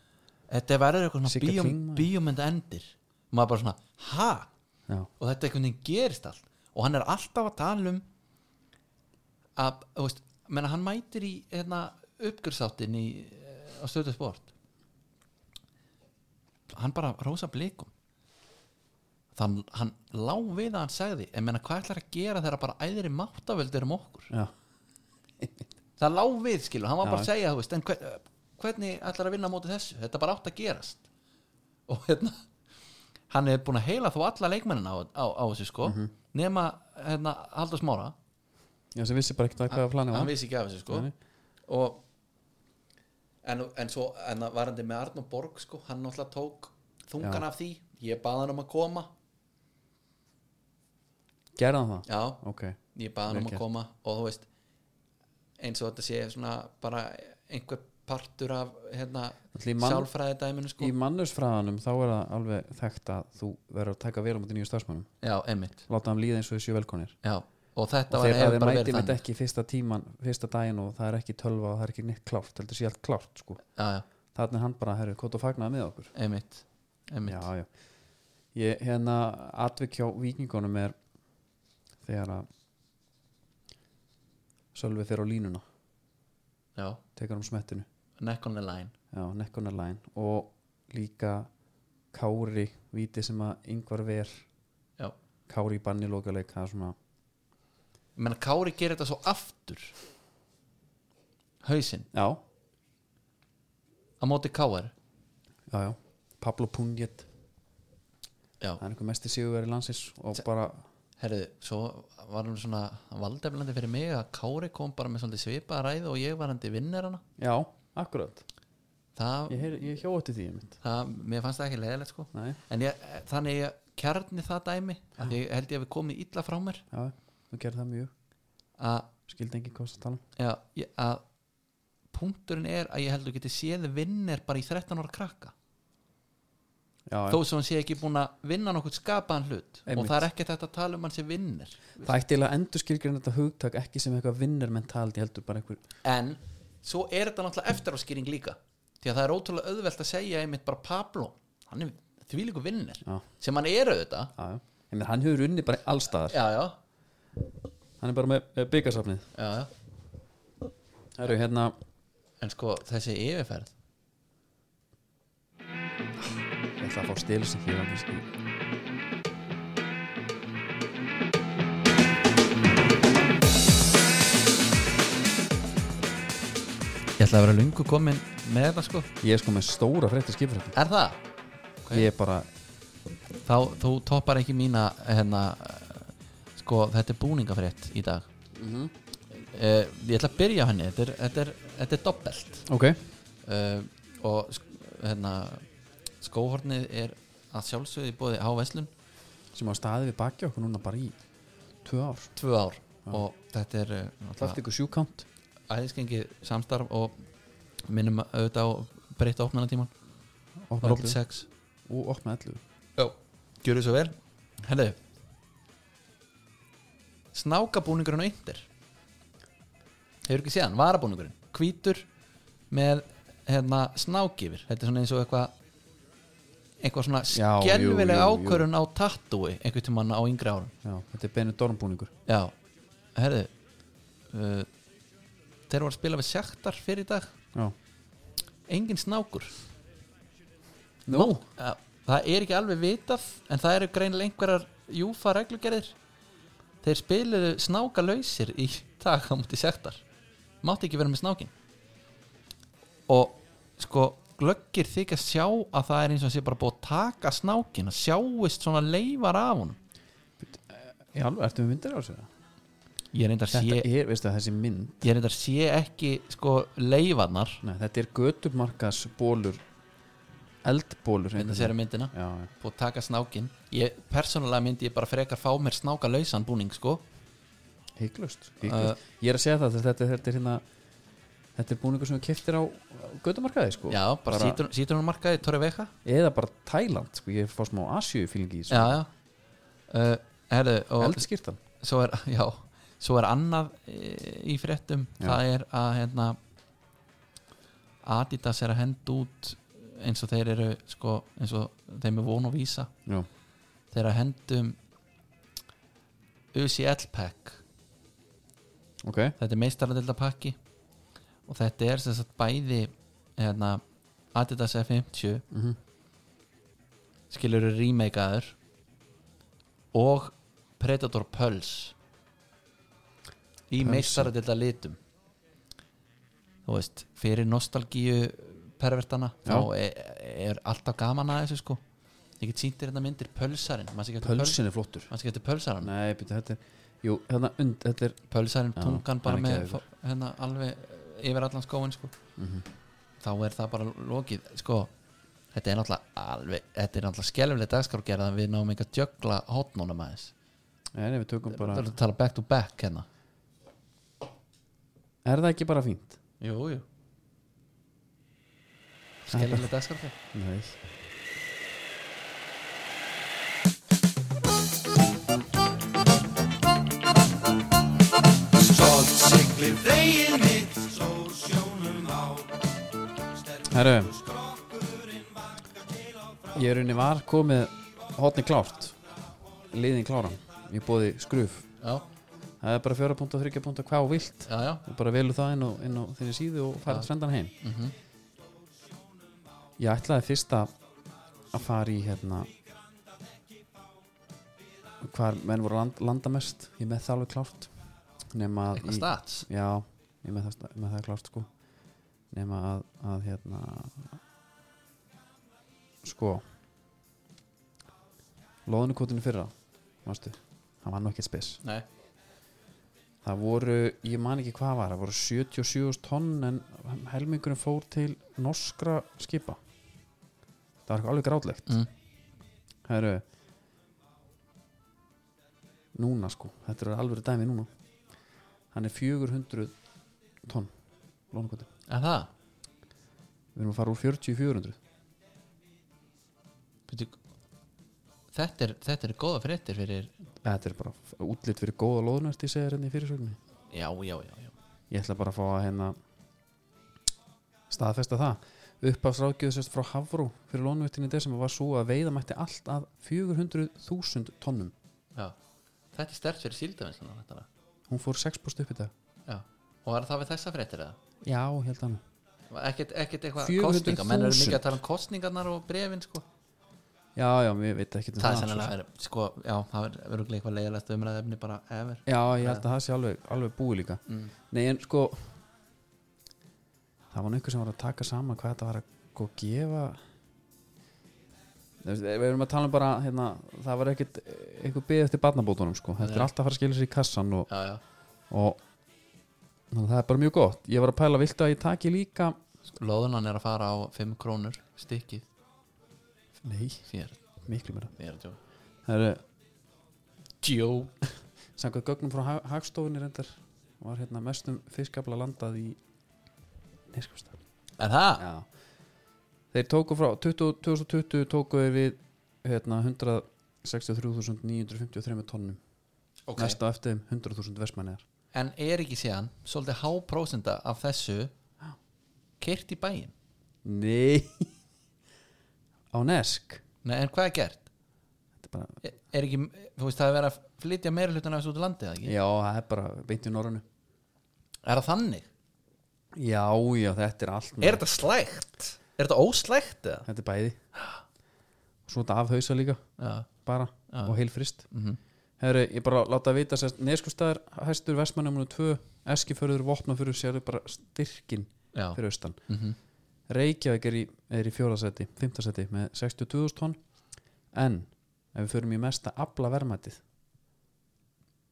S2: þetta verður eitthvað
S1: Sigga
S2: svona bíóm,
S1: Kling, maður.
S2: bíómynd endir maður bara svona, ha
S1: já,
S2: og þetta einhvern veginn gerist allt og hann er alltaf að tala um að, þú veist, menna hann mætir í hérna, uppgjörsáttinn í eh, á stöðu sport hann bara rósa blikum þann, hann lá við að hann sagði en menna hvað ætlar að gera þegar bara æðri máttavöld er um okkur
S1: já,
S2: það lá við skilur, hann var bara
S1: Já.
S2: að segja þú veist, en hver, hvernig ætlar að vinna á móti þessu þetta bara átt að gerast (laughs) og hérna hann er búin að heila þó alla leikmennin á, á, á þessu sko
S1: Mhm.
S2: nema hérna Haldur Smára
S1: já sem vissi bara ekkert að hvaða flani
S2: hann
S1: var
S2: vissi ekki af þessu sko
S1: Nei.
S2: og en, en svo en að varandi með Arnó Borg sko hann náttúrulega tók þungan
S1: Já.
S2: af því ég bað hann um að koma
S1: gerði hann það,
S2: já,
S1: ok
S2: ég bað hann
S1: Vel
S2: um að
S1: gert.
S2: koma og þú veist eins og þetta sé svona bara einhver partur af hérna
S1: Ætli í mann-
S2: sjálfræði dæminu sko
S1: í mannusfræðanum þá er það alveg þekkt að þú verður að taka vel á mútið nýju starfsmannum
S2: já, einmitt
S1: láta hann líða eins og þessu velkonir
S2: já. og þetta
S1: og
S2: var
S1: þeir
S2: hefur
S1: að þeir
S2: bara
S1: mæti
S2: verið
S1: mitt
S2: þannig
S1: ekki fyrsta tíman, fyrsta daginn og það er ekki tölva og það er ekki neitt klárt heldur sé allt klárt sko
S2: já, já,
S1: þannig hann bara herru, hvort og fagnaði með okkur
S2: einmitt, einmitt.
S1: já, já ég, hérna atvik hjá vikingunum er þegar að Sölvi fer á línuna
S2: já.
S1: tekur um smettinu
S2: neck on the line
S1: já, nekkuna læn og líka Kári víti sem að yngvar ver
S2: já
S1: Kári í banni lókaleik það er svona
S2: menn Kári gerir þetta svo aftur hausinn
S1: já,
S2: á móti Káar
S1: já, já Pablo Punget,
S2: já,
S1: það er einhver mesti sigurveri landsins og bara,
S2: herriðu, svo var hann svona valdeflandi fyrir mig að Kári kom bara með svolítið svipa ræðu og ég var hann til vinnir hana
S1: já, akkurat
S2: það,
S1: ég, heyr- ég hjóti því einmitt
S2: það, mér fannst það ekki leiðilegt sko
S1: Nei,
S2: en ég, þannig ég kjarni það dæmi að ég held ég að við komið illa frá mér
S1: já, þú gerir það mjög
S2: að,
S1: skildi engin kost að tala um.
S2: já, ég- að punkturinn er að ég held að geti séð vinnir bara í 13 ára krakka
S1: já,
S2: þó sem hann sé ekki búin að vinna nokkuð skapaðan hlut og
S1: Einmitt.
S2: það er ekki þetta að tala um hann sem vinnir
S1: Það ætti eiginlega endur skilgrein þetta hugtak ekki sem eitthvað vinnur mentalt, ég heldur bara einhver
S2: en svo er þetta náttúrulega eftiráskýring líka því að það er ótrúlega auðvelt að segja einmitt bara Pablo, hann er þvílíku vinnir
S1: Já.
S2: sem hann er auðvitað
S1: já, já. Ég meina, hann hefur unni bara allstaðar
S2: já, já,
S1: hann er bara með byggasafnið
S2: já, já.
S1: það eru hérna,
S2: en sko þessi yfirferð
S1: ég ætla að fá stilu sem hér annars í-
S2: ég ætla að vera lungu komin með þetta sko
S1: ég er sko með stóra fréttir skipfréttir
S2: er það?
S1: ég er bara,
S2: Þá, þú toppar ekki mína hérna, eh, sko þetta er búningafrétt í dag eh, ég ætla að byrja á henni þetta er, þetta er, þetta er doppelt
S1: ok
S2: uh, og sk- hérna, skóhornið er að sjálfsögðu í bóði á Veslun
S1: sem á staði við baki okkur núna bara í tvö ár
S2: tvö ár og þetta er uh,
S1: plastik og sjúkant
S2: æðisgengið samstarf og minnum auðvitað á breytta opnanatíman
S1: opna
S2: Robert
S1: 11
S2: 6
S1: og opna 11
S2: Gjörðu svo vel Herðu Snákabúningurinn á yndir Hefur ekki séð hann, varabúningurinn Hvítur með hérna, snákifir Þetta er svona eins og eitthvað eitthvað svona
S1: Já, jú, jú,
S2: skelvileg
S1: jú.
S2: ákvörun á tattúi einhvern tímann á yngri árum
S1: já, þetta er Benny Dornbúningur
S2: Já, herðu uh, Þeir voru að spila við sektar fyrir í dag
S1: já.
S2: Engin snákur
S1: nú,
S2: Já, það er ekki alveg vitað en það eru greinilega einhverjar júfa reglugerðir þeir spiluðu snáka lausir í dag á múti sektar mátti ekki vera með snákin og sko glöggir þykja sjá að það er eins og sé bara búið að taka snákin að sjáist svona leifar af honum
S1: Já, ertu með myndir á þessu?
S2: ég reyndar sé,
S1: Þetta er, veistu það, þessi mynd
S2: ég reyndar sé ekki sko leifarnar
S1: Nei, þetta er götumarkas bólur eldbólur
S2: með
S1: einhvern
S2: þessari myndina
S1: veginn. hérna Já, já.
S2: búið að taka snákin ég, persónulega myndi ég bara frekar fá mér snáka lausan búning sko
S1: Hygglust,
S2: Uh,
S1: hygglust. Ég er að segja það, þetta, þetta er hérna Þetta er búningur sem þú keftir á götumarkaði sko.
S2: já, bara,
S1: Bara-
S2: bara... sítrunarmarkaði, Torre Veka
S1: Eða bara Tæland, sko. ég fá smá Asíufílingi í
S2: já, já uh, herðu, og
S1: Eldskýrtan
S2: svo er, (laughs) já, svo er annað e, í fréttum,
S1: Já.
S2: það er að hérna Adidas er að henda út eins og þeir eru sko, eins og þeim er von og vísa
S1: Já,
S2: þeir eru að um hendum UCL pack
S1: ok,
S2: þetta er meistaradeldapakki og þetta er sem sagt bæði hérna, Adidas F50
S1: mm
S2: skilur remakeaður og Predator Pulse í
S1: Pulse.
S2: meistaradelda litum þú veist fyrir nostalgíu pervertana
S1: Já.
S2: þá er, er alltaf gaman að þessu sko ég get sýndir þetta myndir pölsarinn mann sé ekki eftir Pulse-
S1: pölsin er flottur
S2: mann sé ekki eftir pölsarann
S1: Nei, byrja, þetta er Jú, hérna und, þetta er
S2: pölsarinn
S1: Já,
S2: um tungan
S1: hann
S2: bara
S1: er
S2: með
S1: geðveikur. Mhm.
S2: fó- hérna, alveg yfir allan skóin sko. þá er það bara lokið sko, þetta er náttúrulega alveg, þetta er náttúrulega skelfileg dagskrárgerð að við náum ekki að djögla hotnónum aðeins
S1: Nei, nei, við tökum
S2: það
S1: bara
S2: er að tala back to back hérna
S1: Er það ekki bara fínt?
S2: jú, jú skelfileg dagskrárgerð
S1: Nei
S3: Stott siglir veginn mitt, sól sjónum á
S1: Herru Ég er unni var komið hotni klárt liðin kláran ég bóði skruf
S2: já,
S1: það er bara 4.3. hvað þú vilt
S2: já, já,
S1: og bara velu það inn á, inn á þinni síðu og fara trendan heim Ég ætlaði fyrst að að fara í hérna hvar menn voru að land, landa mest ég er með það alveg klárt nema að í-
S2: eitthvað stats
S1: Já, ég með það, sta- með það klárt sko nema að, að hérna sko loðunukotinu fyrra mástu, hann var nú ekki spes
S2: nei,
S1: það voru, ég man ekki hvað var það voru 77 tonn en helmingurinn fór til norskra skipa það var eitthvað alveg grátlegt
S2: mm.
S1: Heru, núna sko, þetta er alveg dæmi núna hann er 400 tonn loðunukotinu
S2: er það
S1: Við erum að fara úr 40 í 400
S2: Bíddu, þetta er, þetta er góða fréttir fyrir
S1: Þetta er bara f- útlit fyrir góða loðnært í segir henni hérna í fyrirsögninni
S2: já, já, já, já.
S1: Ég ætla bara að fá að hérna staðfesta það Uppafsráðgjöðu sérst frá Hafró fyrir loðnvöttinni í sem var svo að veiða mætti allt að 400.000 tonnum
S2: Já. þetta er stert fyrir síldavinslan þetta er það
S1: Hún fór 6% upp í dag
S2: Já, og var það við þessa fréttir eða?
S1: Já, ég held hann
S2: Ekkert, ekkert eitthvað
S1: 400.000.
S2: kostninga, menn eru mikið að tala um kostningarnar og brefin sko.
S1: Já, já, ég veit ekki um
S2: Það er
S1: svo
S2: sennilega, er- sko, já, það er öruglega eitthvað leiðilegt umræðefni bara ever
S1: Já, ég held að það sé alveg, alveg búið líka
S2: Mm.
S1: Nei, en sko Það var nú einhver sem var að taka saman hvað þetta var að sko, gefa Þú veist, Við erum að tala um bara hérna, það var ekkit einhver beðið eftir barnabótunum sko. þetta
S2: Nei.
S1: er alltaf að fara að skilja sér í kassan og,
S2: Já, já,
S1: og þannig að það er bara mjög gott ég var að pæla, viltu að ég taki líka
S2: sko, lóðunan er að fara á 5 krónur stykkið
S1: Nei,
S2: fyrir,
S1: miklu meira
S2: fyrir tjó
S1: Það eru
S2: Tjó
S1: samkvæmt gögnum frá hag, hagstofunni reyndar var hérna mestum fiskabla landað í sko, Neskjöfstad
S2: Er það?
S1: Já. Þeir tóku frá 20, 2020 tóku þeir við hérna, 163.953 tonnum
S2: Ok.
S1: næsta á eftir þeim 100.000 versmæniðar
S2: En er ekki séðan, svolítið háprósenda af þessu kert í bæin
S1: Nei (laughs) Á Nesk
S2: Nei, en hvað er gert?
S1: Þetta er bara,
S2: Er, er ekki, þú veist, það er verið að flytja meira hlutin af þessu út í landið, eða ekki?
S1: Já, það er bara beint í norrunu
S2: Er það þannig?
S1: Já, já, þetta er allt
S2: Er þetta slægt? Er þetta óslægt eða?
S1: Þetta er bæði Svo þetta afhausa líka
S2: Já,
S1: bara
S2: Já.
S1: og heilfrist
S2: mm -hmm.
S1: Herru, ég bara láta að vita sérst Neskustæðar, hæstur versmænum 2 Eskiförður, Vopnaförður, sérðu bara styrkin
S2: já.
S1: fyrir austan
S2: Mm
S1: Reykjavík er í, er í fjóraðsæti, fymtaðsæti með 62.000 tonn en ef við förum í mesta afla verðmætið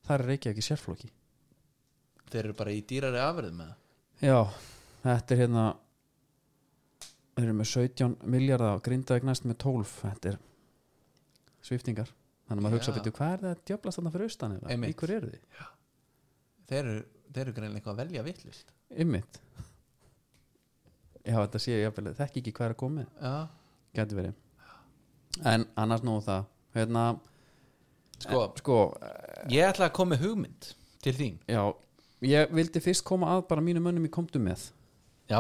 S1: þar er Reykjavík í sérflóki
S2: þeir eru bara í dýrari afrið með það
S1: já, þetta er hérna þeir eru með 17 miljardar og grindaði næst með 12 þetta er sviftingar þannig að maður hugsa
S2: Já.
S1: betur hvað er það að djöflast þarna fyrir austan eða
S2: Einmitt.
S1: í hverju eru þið?
S2: þeir eru, þeir eru greinlega eitthvað að velja vitlust
S1: Ymmit já, þetta sé ég jafnvel þekki ekki hvað er að koma með
S2: já,
S1: gæti verið en annars nú það hérna,
S2: sko,
S1: sko,
S2: ég ætla að koma með hugmynd til þín
S1: já ég vildi fyrst koma að bara mínum mönnum í komdu með
S2: já,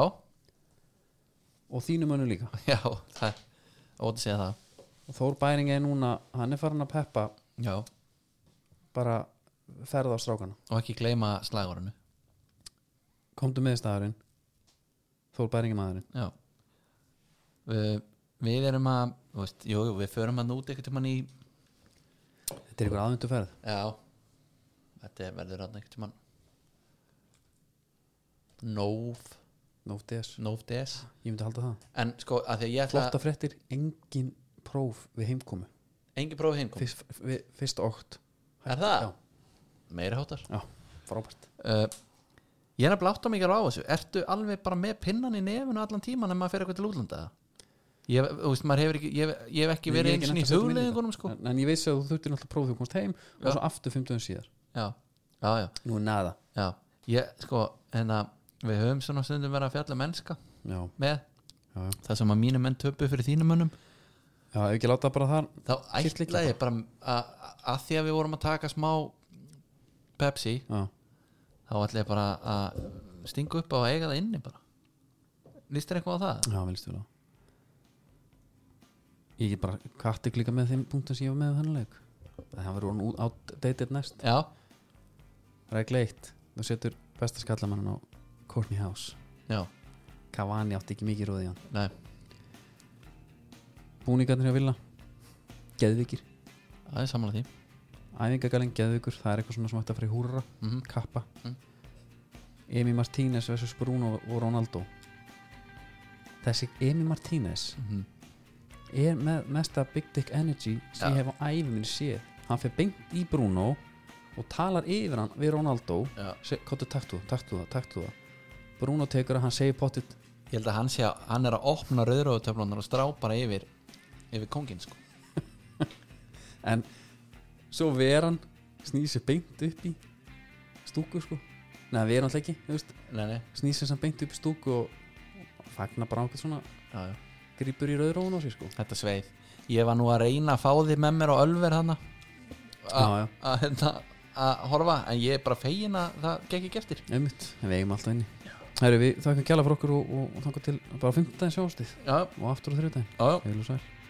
S2: (laughs)
S1: og þínum mönnum líka
S2: já, það ótt að segja það
S1: og Þór Bæring er núna, hann er farin að peppa
S2: já,
S1: bara ferð á strákana
S2: og ekki gleyma slagorinu
S1: komdu með staðarinn Þór Bæring er maðurinn
S2: já uh, við erum að þú veist, jú, jú, við förum að núti eitthvað í
S1: þetta er ykkur aðvendu ferð
S2: Já Þetta er- verður hann ekkert mann Nóf
S1: no DS,
S2: Nóf DS
S1: ég myndi halda það
S2: En sko að því að ég ætla
S1: flotta fréttir, engin próf við heimkomu
S2: Engi prófi heimkom
S1: fyrst, við, fyrst ótt
S2: Er það?
S1: Já.
S2: Meiri hátar
S1: já, frábært
S2: uh, Ég er að bláta mikið á þessu Ertu alveg bara með pinnan í nefinu allan tíman En maður fer eitthvað til útlanda Ég, þú veist, maður hefur ekki, ég, hef- ég hef ekki
S1: Nei, ég
S2: verið
S1: er ekki
S2: eins og í
S1: nefnt að setja mig inn í
S2: hugleðingunum
S1: þetta.
S2: sko.
S1: en, en ég veist að þú þurftir náttúrulega próf þegar þú komst heim
S2: Já.
S1: og svo aftur 15 síðar
S2: Já, já, já,
S1: nú er næða
S2: já Ég, sko, hérna Við höfum svona stundum verið að fjalla mennska
S1: já,
S2: Með
S1: já, já.
S2: það sem að mínu menn töpu fyrir þínum mönnum
S1: já, ef ekki láta bara þar
S2: þá
S1: Sitt
S2: ætla
S1: líka
S2: ég bara að, að því að við vorum að taka smá Pepsi
S1: já,
S2: þá ætla ég bara að stinga upp á að eiga það inni bara líst þér eitthvað á það?
S1: já, velstu vel á ég get bara kattik líka með þeim punktum sem ég var með á þennan leik það verður hún út- outdated næst
S2: Já,
S1: regla eitt, þú setur besta skallamann á Courtney House
S2: já,
S1: Cavani átti ekki mikið róðið hann
S2: nei
S1: búningarnir hjá Villa, geðvikir
S2: það er samanlega því
S1: æfingagalinn geðvikur, það er eitthvað svona sem ætti að fara í húrra
S2: Mhm.
S1: kappa
S2: Mhm.
S1: Emi Martínez versus Bruno og Ronaldo þessi Emi Martínez
S2: mm -hmm.
S1: er með mesta big dick energy sem ég
S2: Ja.
S1: hef á æfi minni séð hann fyrir beint í Bruno og talar yfir hann við Ronaldo
S2: Já.
S1: Se- kottu taktu, það, taktu það, taktu það Bruno tekur að hann segir pottit
S2: Ég held að hann sé að hann er að opna rauðróðutöflunar og strá bara yfir yfir kongin sko
S1: en svo ver hann snýr sér beint upp í stúku sko neða ver hann alltaf ekki, þú veist
S2: Nei, nei,
S1: snýr sem beint upp í stúku og og fagnar bara ákveð svona
S2: já, já,
S1: grýpur í rauðróun á sig sko
S2: þetta sveið Ég var nú að reyna að fá því með mér á ölver hana Ah.
S1: Já, já.
S2: að hérna, að horfa en ég er bara fegin að það gekk ekki eftir
S1: einmitt, en við eigum alltaf inni Herru, við þakkum kjalla fyrir okkur og, og, og þangar til bara 15. sjástið
S2: Já,
S1: og aftur á þriðdæn,
S2: já, já
S1: heil og sæl